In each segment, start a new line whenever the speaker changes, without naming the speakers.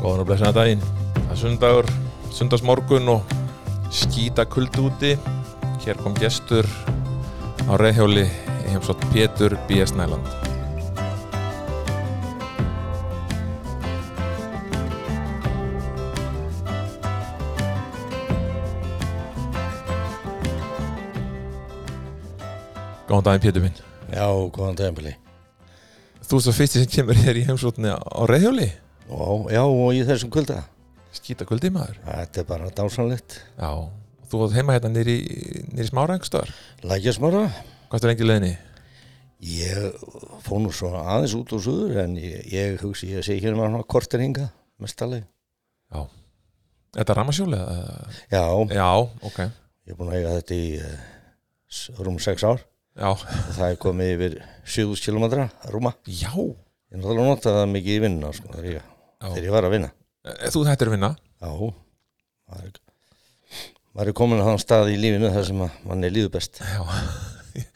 Góðan og blessaðan daginn. Það er sundagur, sundagsmorgun og skýta kuldi úti. Hér kom gestur á reyðhjóli í heimsótt Pétur B.S. Næland. Góðan daginn Pétur minn.
Já, góðan dagambili.
Þú ert svo fyrsti sem kemur hér í heimsóttni á reyðhjóli.
Já, já, og í þessum kvölda.
Skýta kuldi maður.
Þetta er bara dásanlegt.
Já. Þú átt heima hérna nýri, nýri smára einhverstaðar.
Lækjasmára,
Hvað er lengi í leiðinni?
ég fór nú svo aðeins út og suður en ég, ég hugsi, ég sé hérna hann kortir hinga, mestalegi.
Já. Þetta er rammasjóli? eða?
Já,
Já, ok.
ég er búin að eiga þetta í eh, s- rúm 6 ár
Já.
og það er komið yfir 7000 km rúma.
Já. E,
Ég er náttúrulega notaði það mikið í vinnuna, sko, þegar ég, þegar ég var að vinna.
Er e, þú þetta er að vinna?
Já, maður er, maður er komin að þann stað í lífinu þar sem að manni líður best.
Já.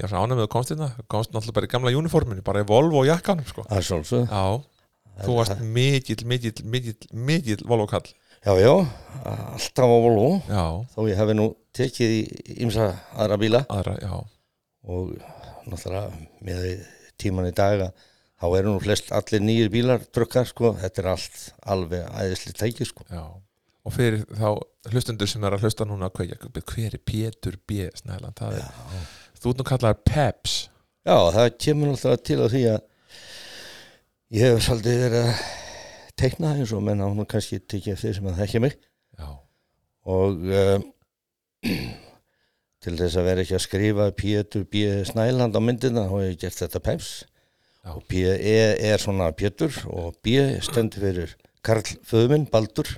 Ég var svo ánægð með að komst hérna. Komst náttúrulega bara í gamla uniforminu, bara í Volvo jakkanum, sko.
Það er svolítið.
Já. Þú varst mikill, mikill, mikill, mikill Volvo kall.
Já, já, alltaf á Volvo.
Já.
þó ég hefði nú tekið í ymsa aðra bíla
Aðra, já.
og náttúrulega með tíman í dag að þá eru nú flest allir nýjir bílar drukkar sko, þetta er allt alveg æðisli tæki sko.
Já. Og fyrir þá hlustundur sem er að hlusta núna hvað, ég- hver er Pétur B. Snæland? Það er, þú ert nú kallar Peps.
Já, það kemur náttúrulega til að því að ég hef svolítið verið að teikna eins og menn á nú kannski tekið eftir því sem að þekkja mig
Já.
og um, til þess að vera ekki að skrifa Pétur B. Snæland á myndina þá hef ég gert þetta peps
Já.
og P. E. er svona Pétur og B. stendur fyrir Karl Föðuminn, Baldur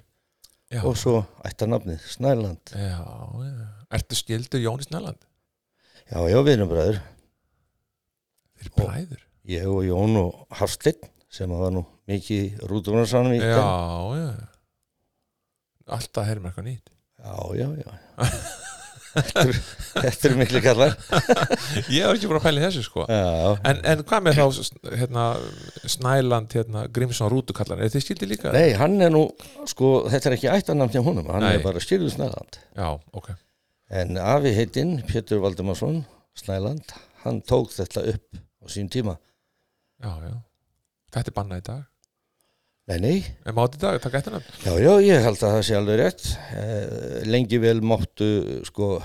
Já.
og svo ættanafnið Snæland
Já, já. Ertu skildur Jóni Snæland?
Já, já, við erum bræður
Þeir eru bræður.
ég og Jón og Hafsteinn sem að var nú mikið í rúdurnarsvanum í
Já,
dag.
já. Alltaf heyrðum eitthvað nýtt.
já, já, já. þetta, er, þetta er miklu kallar
Ég var ekki búin að pæla í þessu sko.
Já,
En, en hvað með þá hérna, Snæland, hérna, Grímsson Rútukallan, er þið skildir líka?
Nei, hann er nú, sko, þetta er ekki ættanamn hjá honum, hann
Nei.
er bara styrðu Snæland.
Já, ok.
En afi heitinn, Pétur Valdimarsson, Snæland, hann tók þetta upp á sín tíma.
Já, já. Þetta er bannað í dag.
Nei, nei,
En mátt í dag, takk eftir nefn.
já, já, ég held að það sé alveg rétt. Eh, Lengi vel máttu, sko,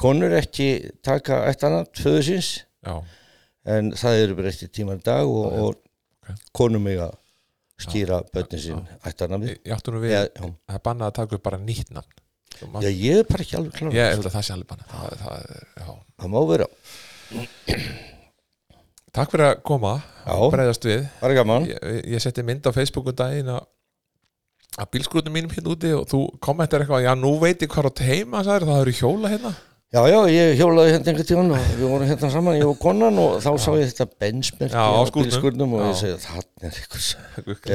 konur ekki taka ættanamn föðusins,
Já,
en það eru breytti tímar í dag og,
Já, já.
og
Ok.
konur mig að skýra börnin sín ættanamni.
ég ég átti nú við,
Já,
að
já.
það er bannað að taka upp bara nýtt nafn. Þú mátt-
já, ég er bara ekki alveg klar.
Ég held að það sé alveg bannað. Það, það er, já.
Það má vera.
Takk fyrir að koma,
Já.
breyðast við.
Bara gaman.
ég, ég setti mynd á Facebook um daginn að að bílskrútum mínum hérna úti og þú kommentar eitthvað, já nú veit ég hvað átt heima sagði, það eru hjóla hérna
Já, já, ég hjólaði hérna einhvern tíðan og við vorum hérna saman, ég og konan og þá sá ég þetta bensmerki
Já, á skúrnum.
og ég
Já.
segi, þannig er ykkur sem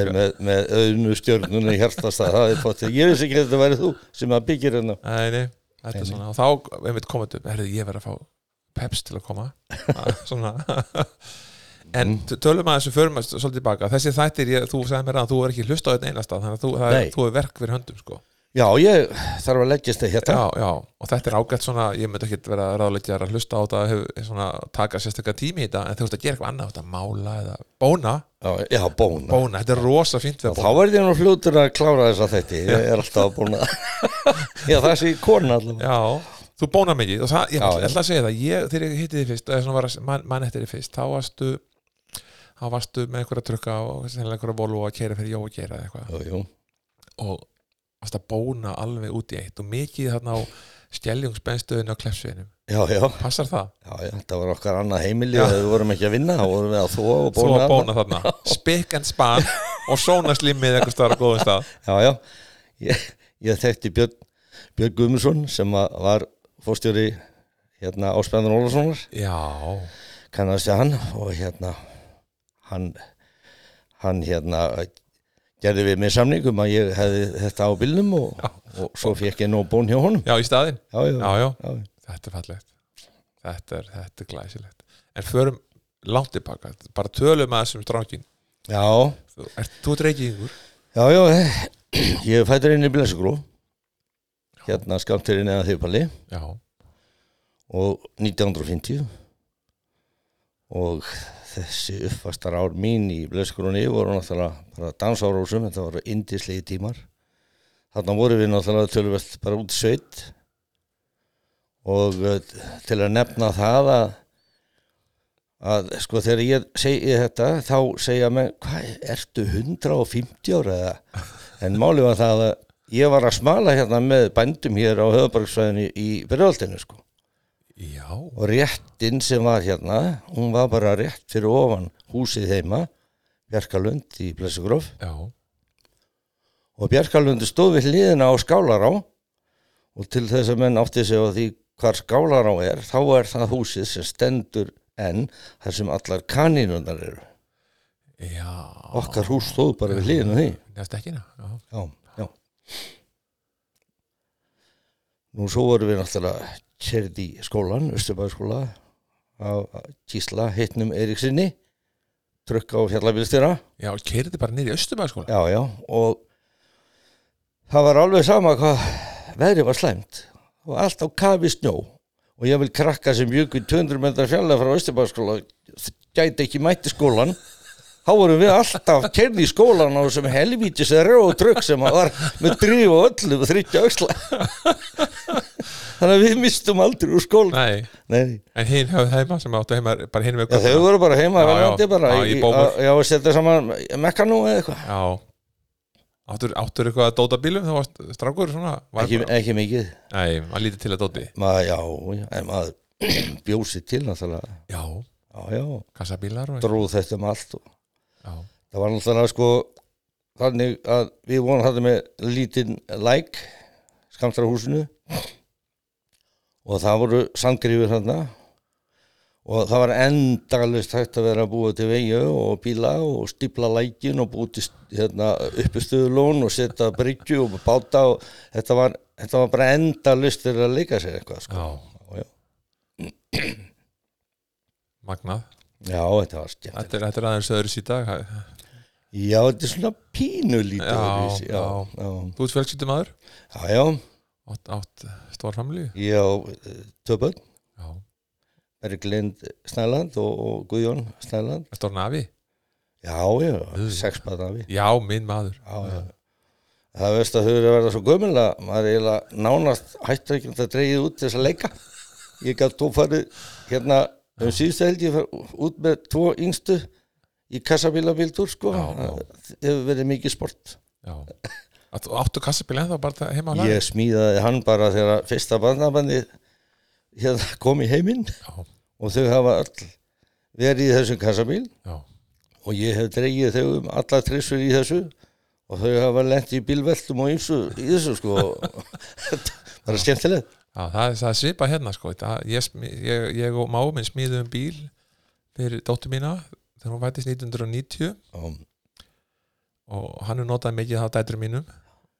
er með, með auðnu stjörnuna í hjartastað, það er fóttið, ég veist ekki að þetta væri þú sem að byggir hérna.
Nei, nei, þetta er
Nei, nei.
svona og þá einmitt kommentum, herrið ég verið að fá peps til að koma Að, svona en
Mm.
t- tölum að þessu förum að s- svolítið baka, þessi þættir ég, þú sagði mér að þú er ekki hlust á þetta einasta þannig að þú, það er,
Nei.
þú er verk fyrir höndum sko.
Já, ég þarf að leggjast það hérna.
já, já, og þetta er ágætt svona ég myndi ekki vera ráðleikja að hlusta á þetta hefur svona taka sérstaklega tími í þetta en þú ert að gera eitthvað annað, þú ert að mála eða bóna,
Já, já bóna.
bóna, þetta er rosa fínt við að
Þá verði ég nú fljótur að klára þess að þetta, ég er alltaf að bóna. já, það sé ég kona allavega.
Já, þú bónar mikið og það, ég
Já,
ætla
já.
ætla að segja það, ég, þegar ég hitti þið fyrst eða svona var að mann man eftir þið fyrst, þá varstu þá varstu með einhverja trukka og sennilega einhverja volvo að kera fyrir jó að kera eitthvað
Jú, jú.
og varstu að bóna alveg út í eitt og mikið þarna á stjæljungsbenstöðin á klefsveginum
já, já,
passar það?
já, já, þetta var okkar annað heimili
Já.
og við vorum ekki að vinna, þá vorum við að þóa og
Svo
bóna
að bóna þarna, spik and span og sóna slimmið eitthvað starf góðum stað
Já, já, ég, ég þekkti Björn, Björn Guðmundsson sem að var fórstjóri hérna Áspendur Ólasonar,
Já,
kannast ég hann og hérna hann, hann hérna gerði við mig samning um að ég hefði þetta á bílnum og, og svo fekk ég nóg bón hjá honum.
já í staðinn
Já, já,
Já, já,
já.
þetta er fallegt Þetta er, þetta er glæsilegt En förum langt tilbaka bara tölum að þessum strákin
já.
Þú ert, þú ert reykingur
Já, já, eh, ég er fættur inn í Blesugrú hérna skamturinn eða þjópalli
Já,
og 1950 og þessi uppvastar ár mín í Blesugrúni voru náttúrulega bara dansárósum, þetta voru indislegi tímar þarna voru við náttúrulega tölvöld bara út í sveit og eh, til að nefna það að að sko þegar ég segi þetta þá segja menn, hvað, ertu 150 ára eða en málið var það að ég var að smala hérna með bændum hér á höfuborgsvæðinu í Byrjaldinu sko
já,
og réttin sem var hérna hún var bara rétt fyrir ofan húsið heima Bjarkalund í Blessugróf
já
og Bjarkalund stóð við hliðina á Skálará og til þess að menn átti sig á því hvar Skálará er þá er það húsið sem stendur enn þar sem allar kanínunar eru
Já,
okkar hús stóð bara við hliðinu því
nefnst ekki hana Já,
já, já nú svo vorum við náttúrulega kyrði í skólan, Östurbæðskóla á Kísla, hittnum Eiríksinni trukka á fjallabílstýra
já keirði bara niður í Östurbæðskóla
já, já, og það var alveg sama hvað veðrið var slæmt og allt á kafi snjó og ég vil krakka sem jöku 200 metrar fjalla frá Östurbæðskóla gæti ekki mætti skólan þá vorum við alltaf kerði í skólan á þessum helvítis eða rjóð trökk sem að var með dríf og öllu og þryggja öxla þannig að við mistum aldrei úr skólan
Nei,
Nei.
en hinn höfð heima sem áttu heima bara hinn með
Já, þau voru bara
Já,
heima
já.
verðandi bara
Já, í bómull.
að- já, að setja saman mekkanú eða eitthvað
Já Áttur, áttur eitthvað að dóta bílum þá varst strákur svona var,
ekki, ekki mikið
Nei, maður lítið til að dóti
maður, já, já, en maður bjósi til náttúrulega
Já,
já, já,
kassabílar og
dróð þetta um allt og
Já,
það var náttúrulega sko þannig að við vonum þetta með lítinn læk skamtra húsinu og það voru sandgrifir þarna og það var endalust hægt að vera að búa til vegi og bíla og stípla lækin og búa til hérna, uppistöðulón og setja bryggju og báta og þetta var, þetta var bara endalust fyrir að leika sér eitthvað sko.
já,
já, já.
magnað
Já, þetta var skemmt.
Þetta er, þetta er aðeins öðru í dag
Já, þetta er svona pínulítið.
Já,
öðruvísi, já, já.
Þú ert fjölskyldum aður
Já, já,
Átt, átt eh, stór familju
ég á eh, töpun,
Já,
Berglind Snæland og, og Guðjón Snæland.
stór nafi
Já, já, sex barna við.
Já, minn maður
Já, já. Það veist að þau eru að verða svo gömul að maður er eiginlega nánast hættur ekki að dreigið út til þess að leika. Ég gaf tó farið hérna um síðustu held ég fer út með tvo yngstu í kassabílabíltúr sko.
Já, já.
Það hefur verið mikið sport.
Já Átt- Áttu kassabíl ennþá bara það heima á lagi
Ég smíðaði hann bara þegar fyrsta barnabandi hérna kom í heiminn
Já,
og þau hafa öll verið í þessum kassabíl
já,
og ég hef dreigið þau um alla trissur í þessu og þau hafa lent í bílveltum og ýmsu í þessu sko það er skemmtilegt
já það, er, það er svipa hérna sko það, ég, smi- ég, ég og máu minn smíðum bíl fyrir dóttur mína þegar hún vætist 1990
um,
og hann er notað mikið það af dættur mínum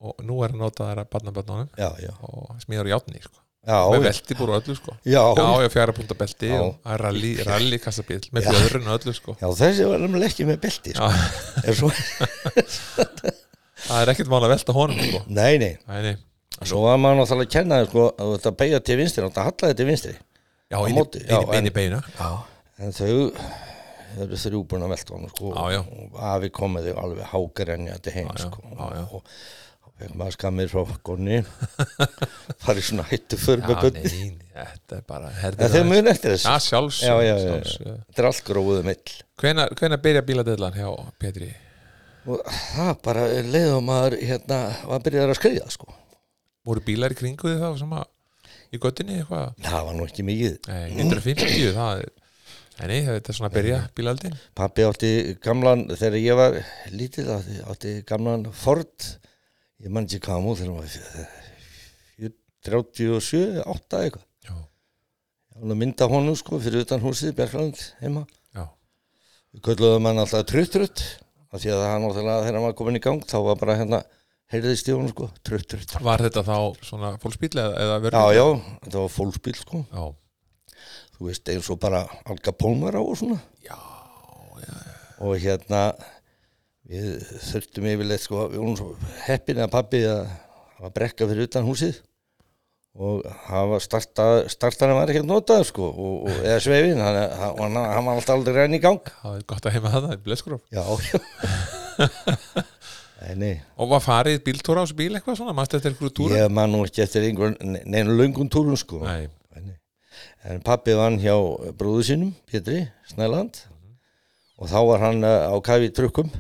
og nú er hann notað þar að barnaböndunum
já, já,
og smíður játni sko. með
já,
velti búr og öllu sko.
já,
Já,
já.
já, fjara púnta belti
Já.
og það er rally, rally kassabíl með fjöðurinn og öllu sko
já þessi var nefnilega ekki með belti sko. En svo,
Það er ekkert mál að velta honum sko
nei, nei,
Æ, nei.
svo var maður náttúrulega að kenna þér, sko, að þetta beigja til vinstri og þetta hallaði til vinstri
Já,
Á
inn
móti,
í-
já,
inn í- inn í beina
Já. En þau þau eru þrjú búin að velta honum sko
Já, já.
og afi komið þau alveg hágrenjandi heim
Já, já,
sko
já, já.
og og fekk maður skammir frá gonni farið svona hættu fyrir með
Já,
bönni
nei, þetta er bara herðir
en þau
aðeins.
mun eftir þessu
Já, sjálfs
Já, já, já,
sjálfs,
já. þetta er allt gróðum ill
Hvenær, hvenær byrja bíladillan hjá Petri?
og það bara leiðum maður hérna var byrjaður að skriða sko
Voru bílar í kringu þið þá sem að í göttinni eitthvað?
það var nú ekki mikið
Nei, 150, það er Nei, nei, þetta er svona að byrja bílaldin
Pappi átti gamlan, þegar ég var lítill, átti, átti gamlan Ford, ég man ekki hvað hann múð þegar maður var 37, 8 eitthvað.
Já,
Ég var nú að mynda honum sko fyrir utan húsið, Bjarkland, heima.
já,
Við kölluðum hann alltaf trutt-trutt, af því að hann náttúrulega þegar hann var komin í gang, þá var bara hérna, heyrðist í honum sko, trutt-trutt.
var þetta þá svona fólksbíl eða, eða
Já,
verður?
já, þetta var fólksbíl sko,
já,
þú veist eins og bara Al Capone var á og svona.
já,
og hérna við þurftum yfirleitt sko, við vorum svo heppin að pabbi að hafa brekka fyrir utan húsið og hafa starta, startarinn var ekkert notað sko, og, og, eða sveifin, hann, hann, hann, hann var alltaf aldrei renn í gang
það er gott að heima það, það er blöðskróf
já, já Nei, nei,
Og var farið bíltúr á þessu bíl eitthvað svona, mannstu eftir einhverju túra?
ég man nú ekki eftir einhvern ne- neinu löngum túrun sko
Nei,
Nei. En pappi vann hjá bróðu sínum, Pétri, Snæland
Mhm.
og þá var hann eh, á kafi í trukkum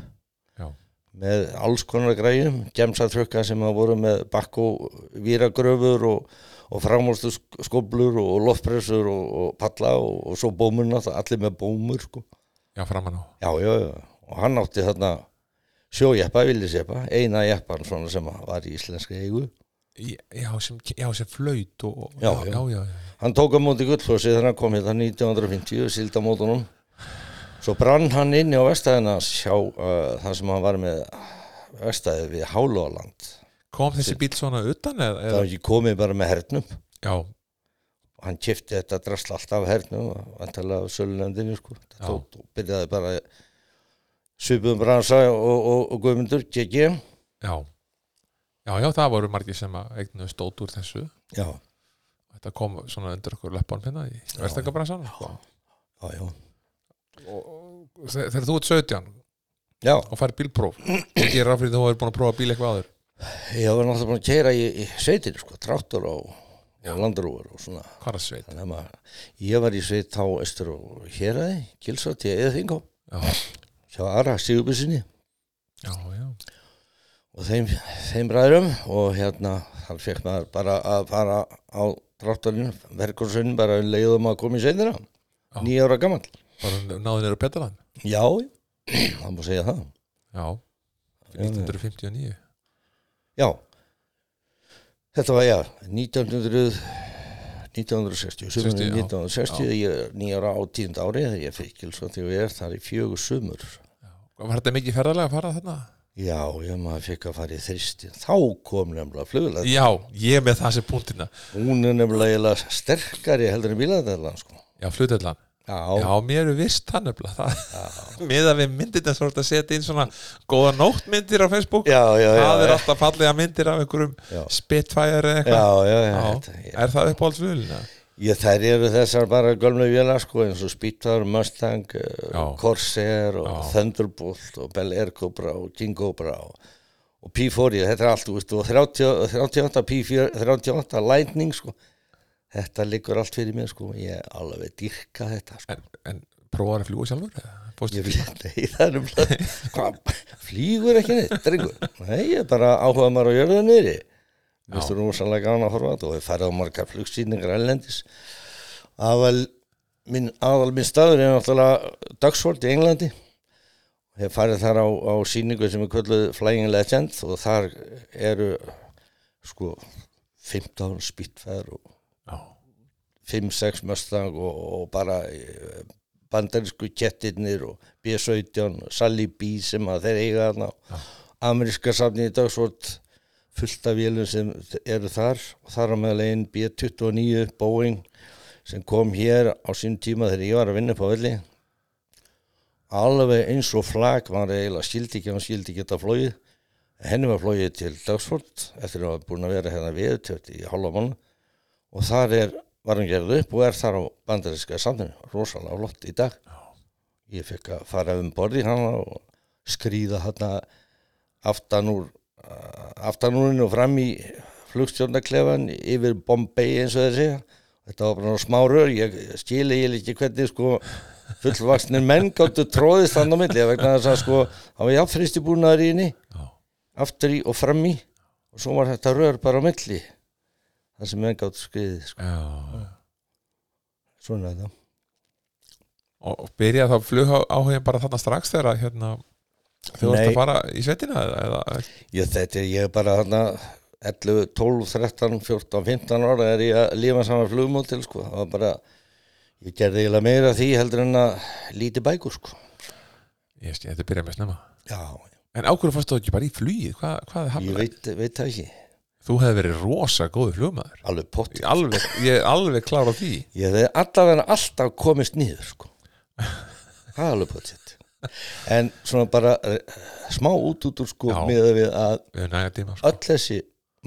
já,
með alls konar græjum, gemsatrökka sem að voru með bakko víragröfur og, og framhústu skoblur og loftpressur og, og palla og, og svo bómurna, það- allir með bómur sko.
já, framan á
Já, já, já, og hann átti þarna sjójeppa, villisjeppa, eina jeppan svona sem að var í íslenska eigu.
Já, sem, já, sem flöyt og, og,
Já,
já, já, já.
Hann tók á móti gullflósi þegar hann kom hérna 1950 og sílda mótunum. Svo brann hann inni á vestæðina sjá uh, það sem hann var með vestæði við Hálóland.
Kom þessi bíl svona utan eða?
Það
eða?
var ekki komið bara með hernum.
Já,
og hann kifti þetta drasl alltaf hernum vantalega sölunendinu sko
Já.
og byrjaði bara svipum bransa og, og, og guðmundur GG
já Já, já, það voru margir sem að eignu stótt úr þessu
já,
Þetta kom svona undir okkur leppan hérna í verðstakabransan
já, já,
Þegar þú ert 17
já
og fær bílpróf Ég gerir ráð fyrir þú hefur búin að prófa bíl eitthvað áður
ég var náttúrulega búin að keira í, í sveitin sko, traktor og,
Já.
og landrúar og svona
Hvað er sveit?
þannig að maður, ég var í sveit þá östur og héræði, gilsat ég eða þingá
Já,
hjá Ara Sigubusinni
já, já,
og þeim, þeim bræðrum og hérna hann fekk maður bara að fara á dráttarinn, verkursunni bara um leiðum að koma í sveitina
Já.
nýja ára gammal
bara náðu nýra petalan
já, það má segja það
Já, 1959
já þetta var já 1900 1960, sumarið
60, já.
1960 ég nýja ára á tíund ári þegar ég fikk gilsa þegar ég er þar í fjögur sumur
Var þetta mikið ferðalega að fara þarna?
já, ég maður fikk að fara í þristi þá kom nefnilega fluglega
Já, ég með það sem hérna. punktina
hún er nefnilega eiginlega sterkari heldur en bílaðarlan sko.
Já, flutellan Já, mér er vist það nefnilega það Miða við myndir þess að setja inn svona góða nóttmyndir á Facebook
já, já, já,
Það er
já,
alltaf fallega myndir af einhverjum
Já.
Spitfire eða eitthvað
já, já, já. þetta-
Já, Er það uppáhaldsvölina?
Ég, þær eru þessar bara gömlu vjöla sko, eins og Spitfire, Mustang
Já.
já. Corsair og Thunderbolt og Bell Air Cobra og King Cobra og, og P40, þetta er allt þú veist, og 30, 38 P4 38 Lightning sko. þetta liggur allt fyrir mér sko. ég alveg dýrka þetta sko.
En, en prófaður að fljúa sjálfur? eða? Fórstu-
ég vil nei, það er um hvað, flýgur ekki neitt, drengur nei, ég er bara áhuga maður á jörðu niðri Mér finnst þú nú sannlega gaman að horfa á þetta og við færðum margar flugsýningar ellendis aðal minn, aðal minn staður er náttúrulega Duxford í Englandi ég hef farið þar á, á sýningu sem er kvölduð Flying Legend og þar eru sko 15 spýtfæður og
Já,
5-6 Mustang og, og bara eh, bandarísku kettirnir og B-17 og Sally B sem að þeir eiga þarna
Já.
ameríska safni í dag svort fullt af vélum sem eru þar og þar á meðal einn B-29 Boeing sem kom hér á sín tíma þegar ég var að vinna upp á velli alveg eins og flag var eiginlega skildi ekki, hann skildi ekki þetta flóið henni var flóið til Dagsford eftir að hafa búin að vera hérna við tjátt í halva mánu og þar er, var hann gerð upp og er þar á bandaríska samtunni rosalega flott í dag ég fekk að fara um borði hann og skrýða hann aftan úr eh, aftanúrinu og fram í flugstjórnaklefan yfir Bombay eins og þeir segja þetta var bara smá rör ég skili ég ekki hvernig sko fullvaksnir menn gáttu tróðist þannig á milli vegna þess að sko hann var jafnfristi búnaður í henni
já,
aftur í og fram í og svo var þetta rör bara á milli það sem menn gátt skriðið sko.
Já.
svona er það
Og og byrja þá flug áhugin bara þarna strax þegar að, hérna, þau varst
Nei.
að fara í svetina eða, eða,
ég, þetta, er- ég er bara þarna 11, 12, 13, 14, 15 ára er ég að lífa saman flugmótil sko. það var bara ég gerði eiginlega meira af því heldur en að líti bækur sko.
ég skil, þetta byrja með snemma.
já,
En ákvörðu fórstu ekki bara í flugið, hvað, hvað er
ég
hafnað?
veit, veit það ekki
Þú hefði verið rosa góður flugmaður.
alveg pott
Ég Alveg, ég er alveg klár á því.
ég hefði allavega alltaf komist nýður sko. það er alveg pott en svona bara eh, smá út út úr sko,
Já.
með við að
Við höfum næga tíma, sko.
öll þessi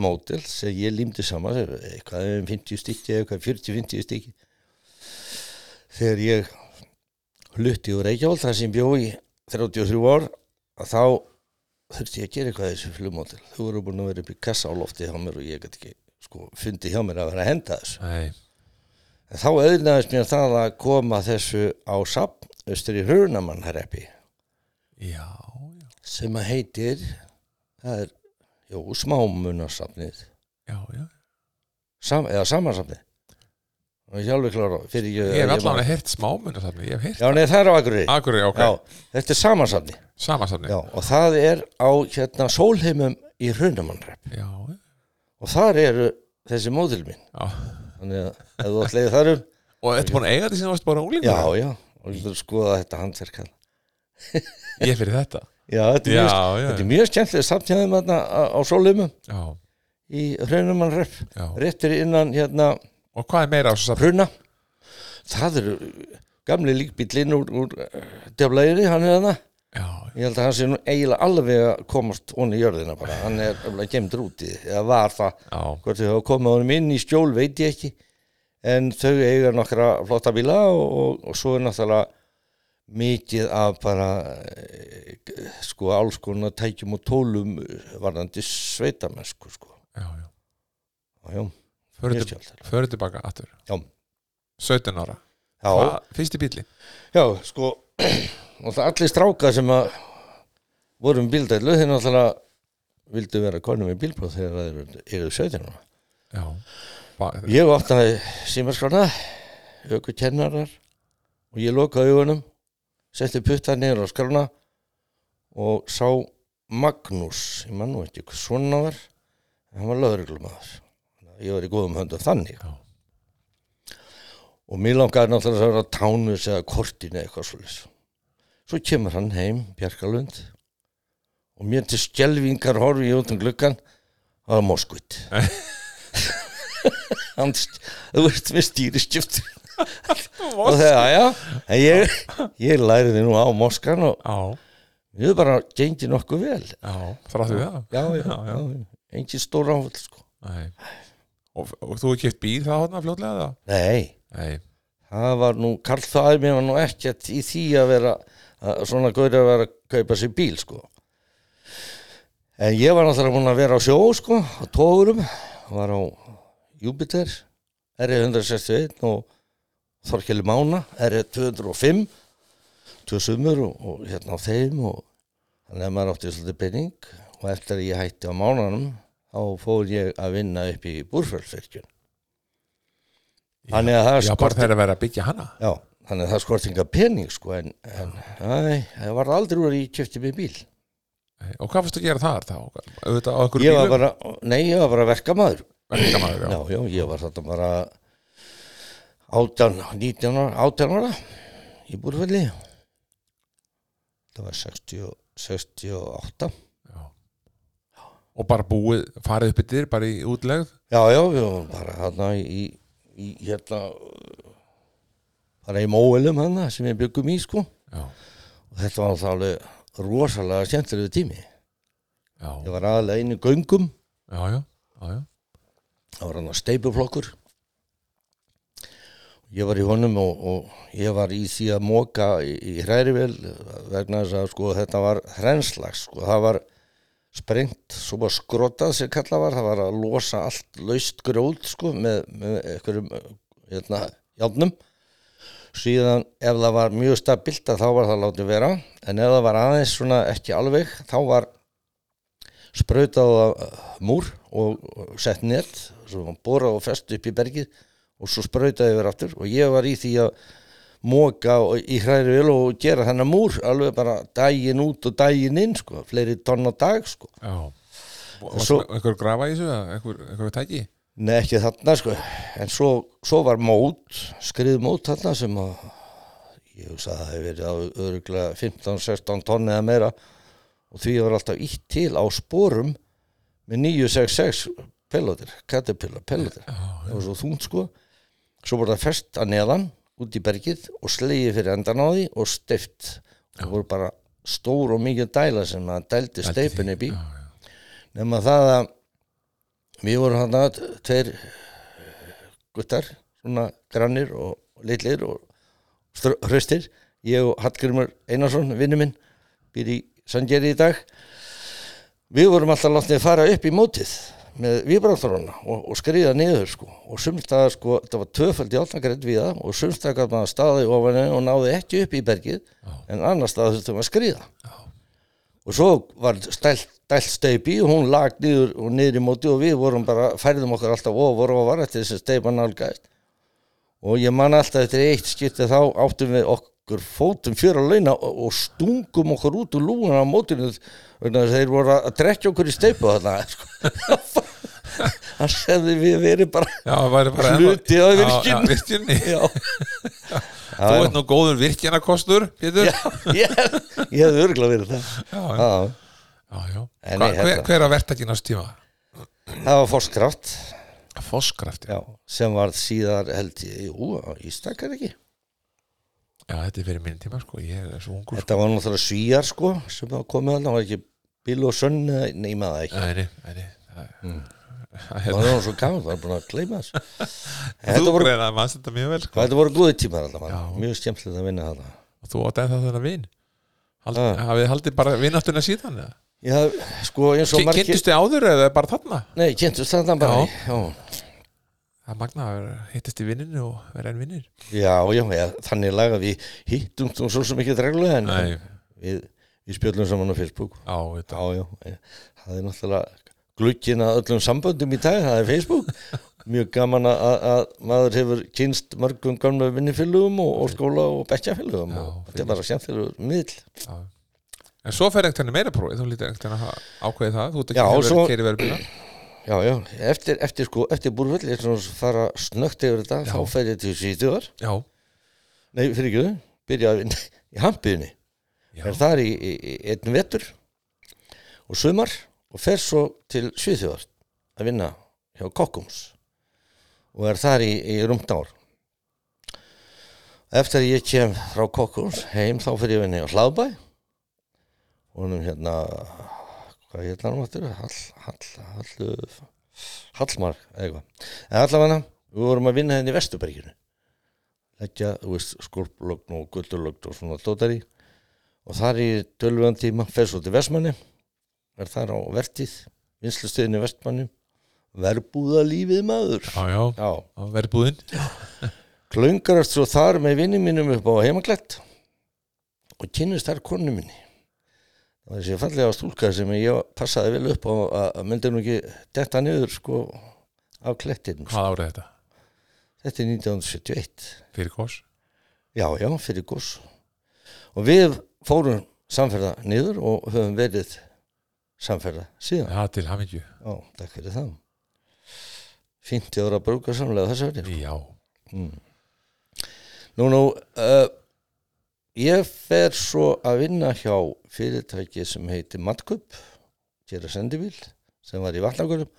mótil sem ég límdi saman sem eitthvað um 50 stykki eitthvað 40-50 stykki þegar ég hlutti úr Reykjavík þar sem ég bjó í 33 ár að þá þurfti ég að gera eitthvað í þessu flugmótil þau voru búin að vera upp í kassa á lofti hjá mér og ég gæti ekki sko fundið hjá mér að vera að henda þessu
Nei,
en þá auðnaðist mér það að koma þessu á sapn östri hrunamannhreppi
já, já,
sem að heitir það er, jú, smámunarsapnið
já, já.
Sam, eða samansafni og ég er alveg klára fyrir
Ég hef allavega heyrt smámunasafni, ég hef heyrt
já, nei, það er á Akureyri
Akurri, ok,
já, þetta er samansafni
samansafni
já, og það er á hérna sólheimum í Hrunamannrepp
já,
og þar eru þessi móðil mín
já.
þannig að ef þú ætlaði þar um
Og ertu búin að eiga því sem þú varst bara unglingur?
já, já, og þú getur skoða þetta handverk hérna.
Ég fyrir þetta
já, þetta er
Já,
mjög,
já,
þetta er mjög skemmtilega samtjáðum hérna á á sólheimum
já,
í Hrunamannrepp
já
réttir innan hérna
Og hvað er meira á þessu safni?
Hruna það eru gamli líkbíllinn úr, úr djafleiri, hann er hana
Já,
Ég held að hann sé nú eiginlega alveg að komast onni í jörðina bara, hann er alveg gemdur úti eða var það,
já,
hvort þau hafa komið honum inn í skjól veit ég ekki en þau eiga nokkra flotta bíla og, og, og svo er náttúrulega mikið af bara e, sko alls konar tækjum og tólum eh, varðandi sveitamennsku sko,
já, já
já, já,
Förum
mjög
til-
skjálftar
Förum tilbaka aftur
Já.
17 ára
Já,
Fyrst í bíli
Já, sko og það allir stráka sem að vorum bíldælu, þeir náttúrulega vildu vera konum í bílpróf þegar þeir eru 17 ára.
Já Ba-
Ég opnaði símarskrána auku kennarar og ég lokaði augunum setti putta niður á skrána og sá Magnús, ég mann nú ekki hvað svona var en hann var löðruglumæður ég var í góðum höndum þannig
Já.
og mér langaði náttúrulega að vera tánus eða kortinu eða eitthvað svolítið svo kemur hann heim, Bjarkalund og mér til skjelvingar horfi ég út um gluggan að moskvitt hann, st- þú ert með stýriskjöft og þegar, já, en ég, ég læriði nú á Moskan og
Já,
við bara gengi nokkuð vel
já, þráttu við það
já, já, já,
já.
engin stór áfæll sko.
Nei Og, og þú hefur keft bíl það hóðna fljótlega eða?
nei,
Nei,
það var nú Karl Þaði mér var nú ekkert í því að vera að svona gauri að vera að kaupa sér bíl sko. en ég var náttúrulega búin að vera á sjó sko, á tógurum var á Júpiter R161 og Þorkeli Mána E R205 tvö sumur og, og hérna á þeim og þannig að maður átti svolítið penning og eftir að ég hætti á mánanum þá fór ég að vinna upp í búrfjörnsvirkjun þannig að það
já, bara
skorti-
þegar að vera að byggja hana
Já, þannig að það skort enga pening sko en, en æ, það var aldrei úr að ég kjöfti mig bíl.
Nei. Og hvað fórstu að gera þar þá? Auðvitað á okkur
Ég var
bílum?
bara, nei, ég var bara verkamaður.
Verkamaður,
Já,
já.
já, ég var þarna bara 18, 19 ára, 18 ára í búrfelli. Það var 60, 68.
já Og bara búið, farið upp yfir, bara í útlegð
Já, já, við varum bara þarna í, í hérna, bara í móelum hana sem ég byggum í sko.
Já,
Og þetta var alltaf alveg rosalega skemmtilegu tími.
já,
Ég var aðalega einu göngum
já, já, já, já.
það var hann að steipuflokkur ég var í honum og, og ég var í því að móka í, í hrærivel vegna þess að sko þetta var hreinslags sko það var sprengt svo var skrotað sem kallað var það var að losa allt laust grjóð sko með, með einhverjum hérna, játnum síðan ef það var mjög stabilt að þá var það látið vera en ef það var aðeins svona ekki alveg þá var sprautað á múr og og sett net svo var hann borað og fest upp í bergið og svo sprautaði yfir aftur og ég var í því að móka í hræri vil og gera hennar múr alveg bara daginn út og daginn inn sko, fleiri tonn á dag sko
Já. Varst
Svo-
einhver grafa í þessu eða einhver, einhver tæki?
Nei, ekki þarna sko en svo, svo var mót skriðmót þarna sem að ég hugsa að það hefur verið á öruglega 15-16 tonni eða meira og því var alltaf ítt til á sporum með 966 pelotir, kattepilla pelotir það var svo þungt sko svo voru það fest að neðan út í bergið og slegið fyrir endan á því og steift það voru bara stór og mikið dæla sem að dældi steipin upp í
Já, já.
nema það að við vorum hann að tveir guttar, svona grannir og litlir og str- hraustir, ég og Hallgrimur Einarsson, vinnu minn, býr í Sandgeri í dag við vorum alltaf látnið að fara upp í mótið með vibráttorana og, og skriða niður sko og sumst að sko, þetta var töfald í átnagrætt við það og sumst að gaf maður staði ofan henni og náði ekki upp í bergið en annars staði þurftum að skriða og svo var stælt, stælt steipi og hún lag niður og niður í móti og við vorum bara, færðum okkur alltaf ofur og var eftir þess að steipa nálgæst og ég man alltaf eftir eitt skipti þá áttum við okkur fótum fyrir að launa og, og stungum okkur út úr lúna á mótinu vegna þess að þeir voru að drekja okkur í steipu þarna sko. hann segði við verið bara
Já, það væri bara
Hluti af
Já,
virkjun.
já, virkjunni.
já,
Þú ert nú góður virkjanakostur, Pétur.
já ég, ég hefði örgulega verið það
Já, já.
já,
já, já.
En
Hva,
nei,
hver,
þetta-
hver að verta ekki næst tíma?
það var fórskraft
Fosskraft, já.
Já, sem var síðar held ég, jú, ístakar ekki.
Já, þetta er fyrir minn tíma, sko. Ég er svo ungur, sko.
Þetta var náttúrulega svíjar sko, sem var komið alveg, það var ekki Bill og Sönn, eða- nei, ég maður það ekki.
Nei, nei, nei, nei. Það-
Mm. Það var náttúrulega svo gaman, það var búin að gleyma þessu. En
Þú
þetta, voru,
greina að mannst þetta mjög vel, sko.
þetta voru góði tímar
Já.
alltaf, mjög skemmtilegt að vinna þetta.
Og þú átt ennþá þennan vin. Hald,
Já.
Hafið haldið bara vinattuna síðan, eða?
Já, sko, eins og
Ki-
margir...
Kynntust þið áður eða bara þarna?
Nei, kynntust þetta bara.
Já.
Já,
Það er magna að vera- hittist í vinninu og vera enn vinnir.
já, já, já þannig laga við hittum þú svo sem ekki reglulega, en við, við spjöllum saman á Facebook.
á, þetta.
Já, já, eh, það er náttúrulega glukkin að öllum samböndum í dag, það er Facebook mjög gaman að, að- að maður hefur kynst mörgum gamla vinnifélugum og, og skóla og bekkjafélugum
Já,
og þetta er bara skemmtilegur miðl
Já. En svo fer einhvern veginn meira prófið, þú lítið einhvern veginn að ha- ákveði það, þú ert ekki
Já,
hefur
svo-
svo... keiri verið bíla.
Já, já, eftir, eftir sko, eftir búrvöld ég ætlum að fara snögt yfir þetta
Já.
þá fer ég til síðuðar,
Já,
nei fyrir ekki þau byrjaði að vinna í hampiðinni
Já.
er þar í, í, í einn vetur og sumar og fer svo til Svíþjóðar að vinna hjá Kokkums og er þar í, í rúmt ár eftir að ég kem frá Kokkums heim þá fyrir ég að vinna hjá Hlaðbæ og honum hérna hvað hérna hann áttur Hall, Hall, Hall, Hallmar eða eitthvað en allavega við vorum að vinna henni í Vesturberginu leggja, þú veist, skorplögn og gullulögn og svona tóttari og þar í tölvöðan tíma fer svo til Vestmanni er þar á vertið vinslustöðinu Vestmanni verbúða lífið maður
já, já,
já,
á verðbúðin.
klöngarast svo þar með vinni mínum upp á heimaglett og kynnist þar konu minni það var þessi fallega stúlka sem ég passaði vel upp á að- að myndi nú ekki detta niður sko af klettinu
Hvað árið þetta?
þetta er 1971
Fyrir kors?
já, já, fyrir góðs og við fórum samferða niður og höfum verið samferða síðan
Já, til hamingju.
Já, takk fyrir það 50 ára brúkarsamlega þessu verið
Já,
Nú, nú, uh, ég fer svo að vinna hjá fyrirtæki sem heiti Matkup gera sendibíl sem var í vatnagurum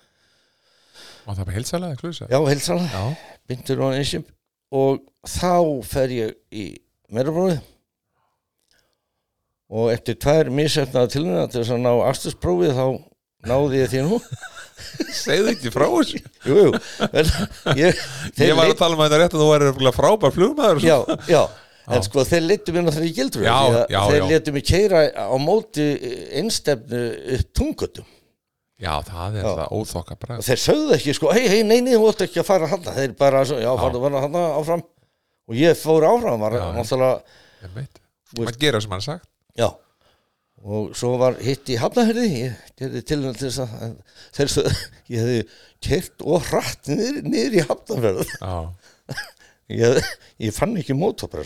og það er bara heilsalega eða klusa.
Já, heilsala,
Já,
bindur og einsum og þá fer ég í merabróði og eftir tvær misefnaða tilhuna til þess að ná aftursprófið þá náði ég því nú
segðu ekki frá þessu.
Jú, jú, en ég,
Ég var að tala um þetta rétt að þú væri örugglega frábær flugmaður. og svo.
já, já En sko þeir letu mér náttúrulega í gildru
Já,
því að
já,
Þeir
já.
letu mér keira á móti einstefnu upp tungutum
já, það er
Já.
það óþokka
og
bræð.
þeir sögðu ekki sko hei, hei, nei, nei, þú ótt ekki að fara handa þeir bara, svo, já, farðu bara handa áfram og ég fór áfram, var
Já.
náttúrulega
Ég veit. Man gera sem hann er sagt.
já, og svo var hitt í hafnaherði ég gerði tilhengi til þess að þegar svo, ég hefði kert og hratt niður, niður í hafnaherði
Já,
ég, ég fann ekki mótopar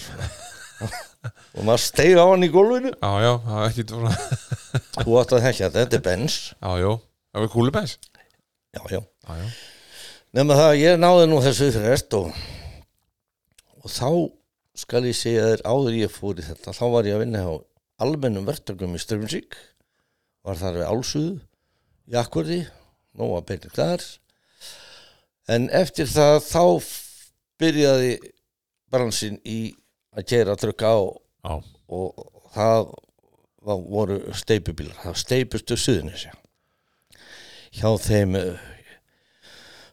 og maður steig á hann í gólfinu
já, já, það er ekki svona
þú átt að þekka þetta, þetta er bens
Já, já, það var kúlubens
já, já.
Já, já,
nema það að ég náði nú þessu fyrir rest og, og þá skal ég segja þér áður ég fór í þetta þá var ég að vinna á almennum verktökum í Strömsík var þar við Álsuðu í Akkurði nóga beinir þar en eftir það þá f- byrjaði bransin í að gera trukka á
já,
og það var, voru steipubílar, það steipustu suðunisja hjá þeim eh,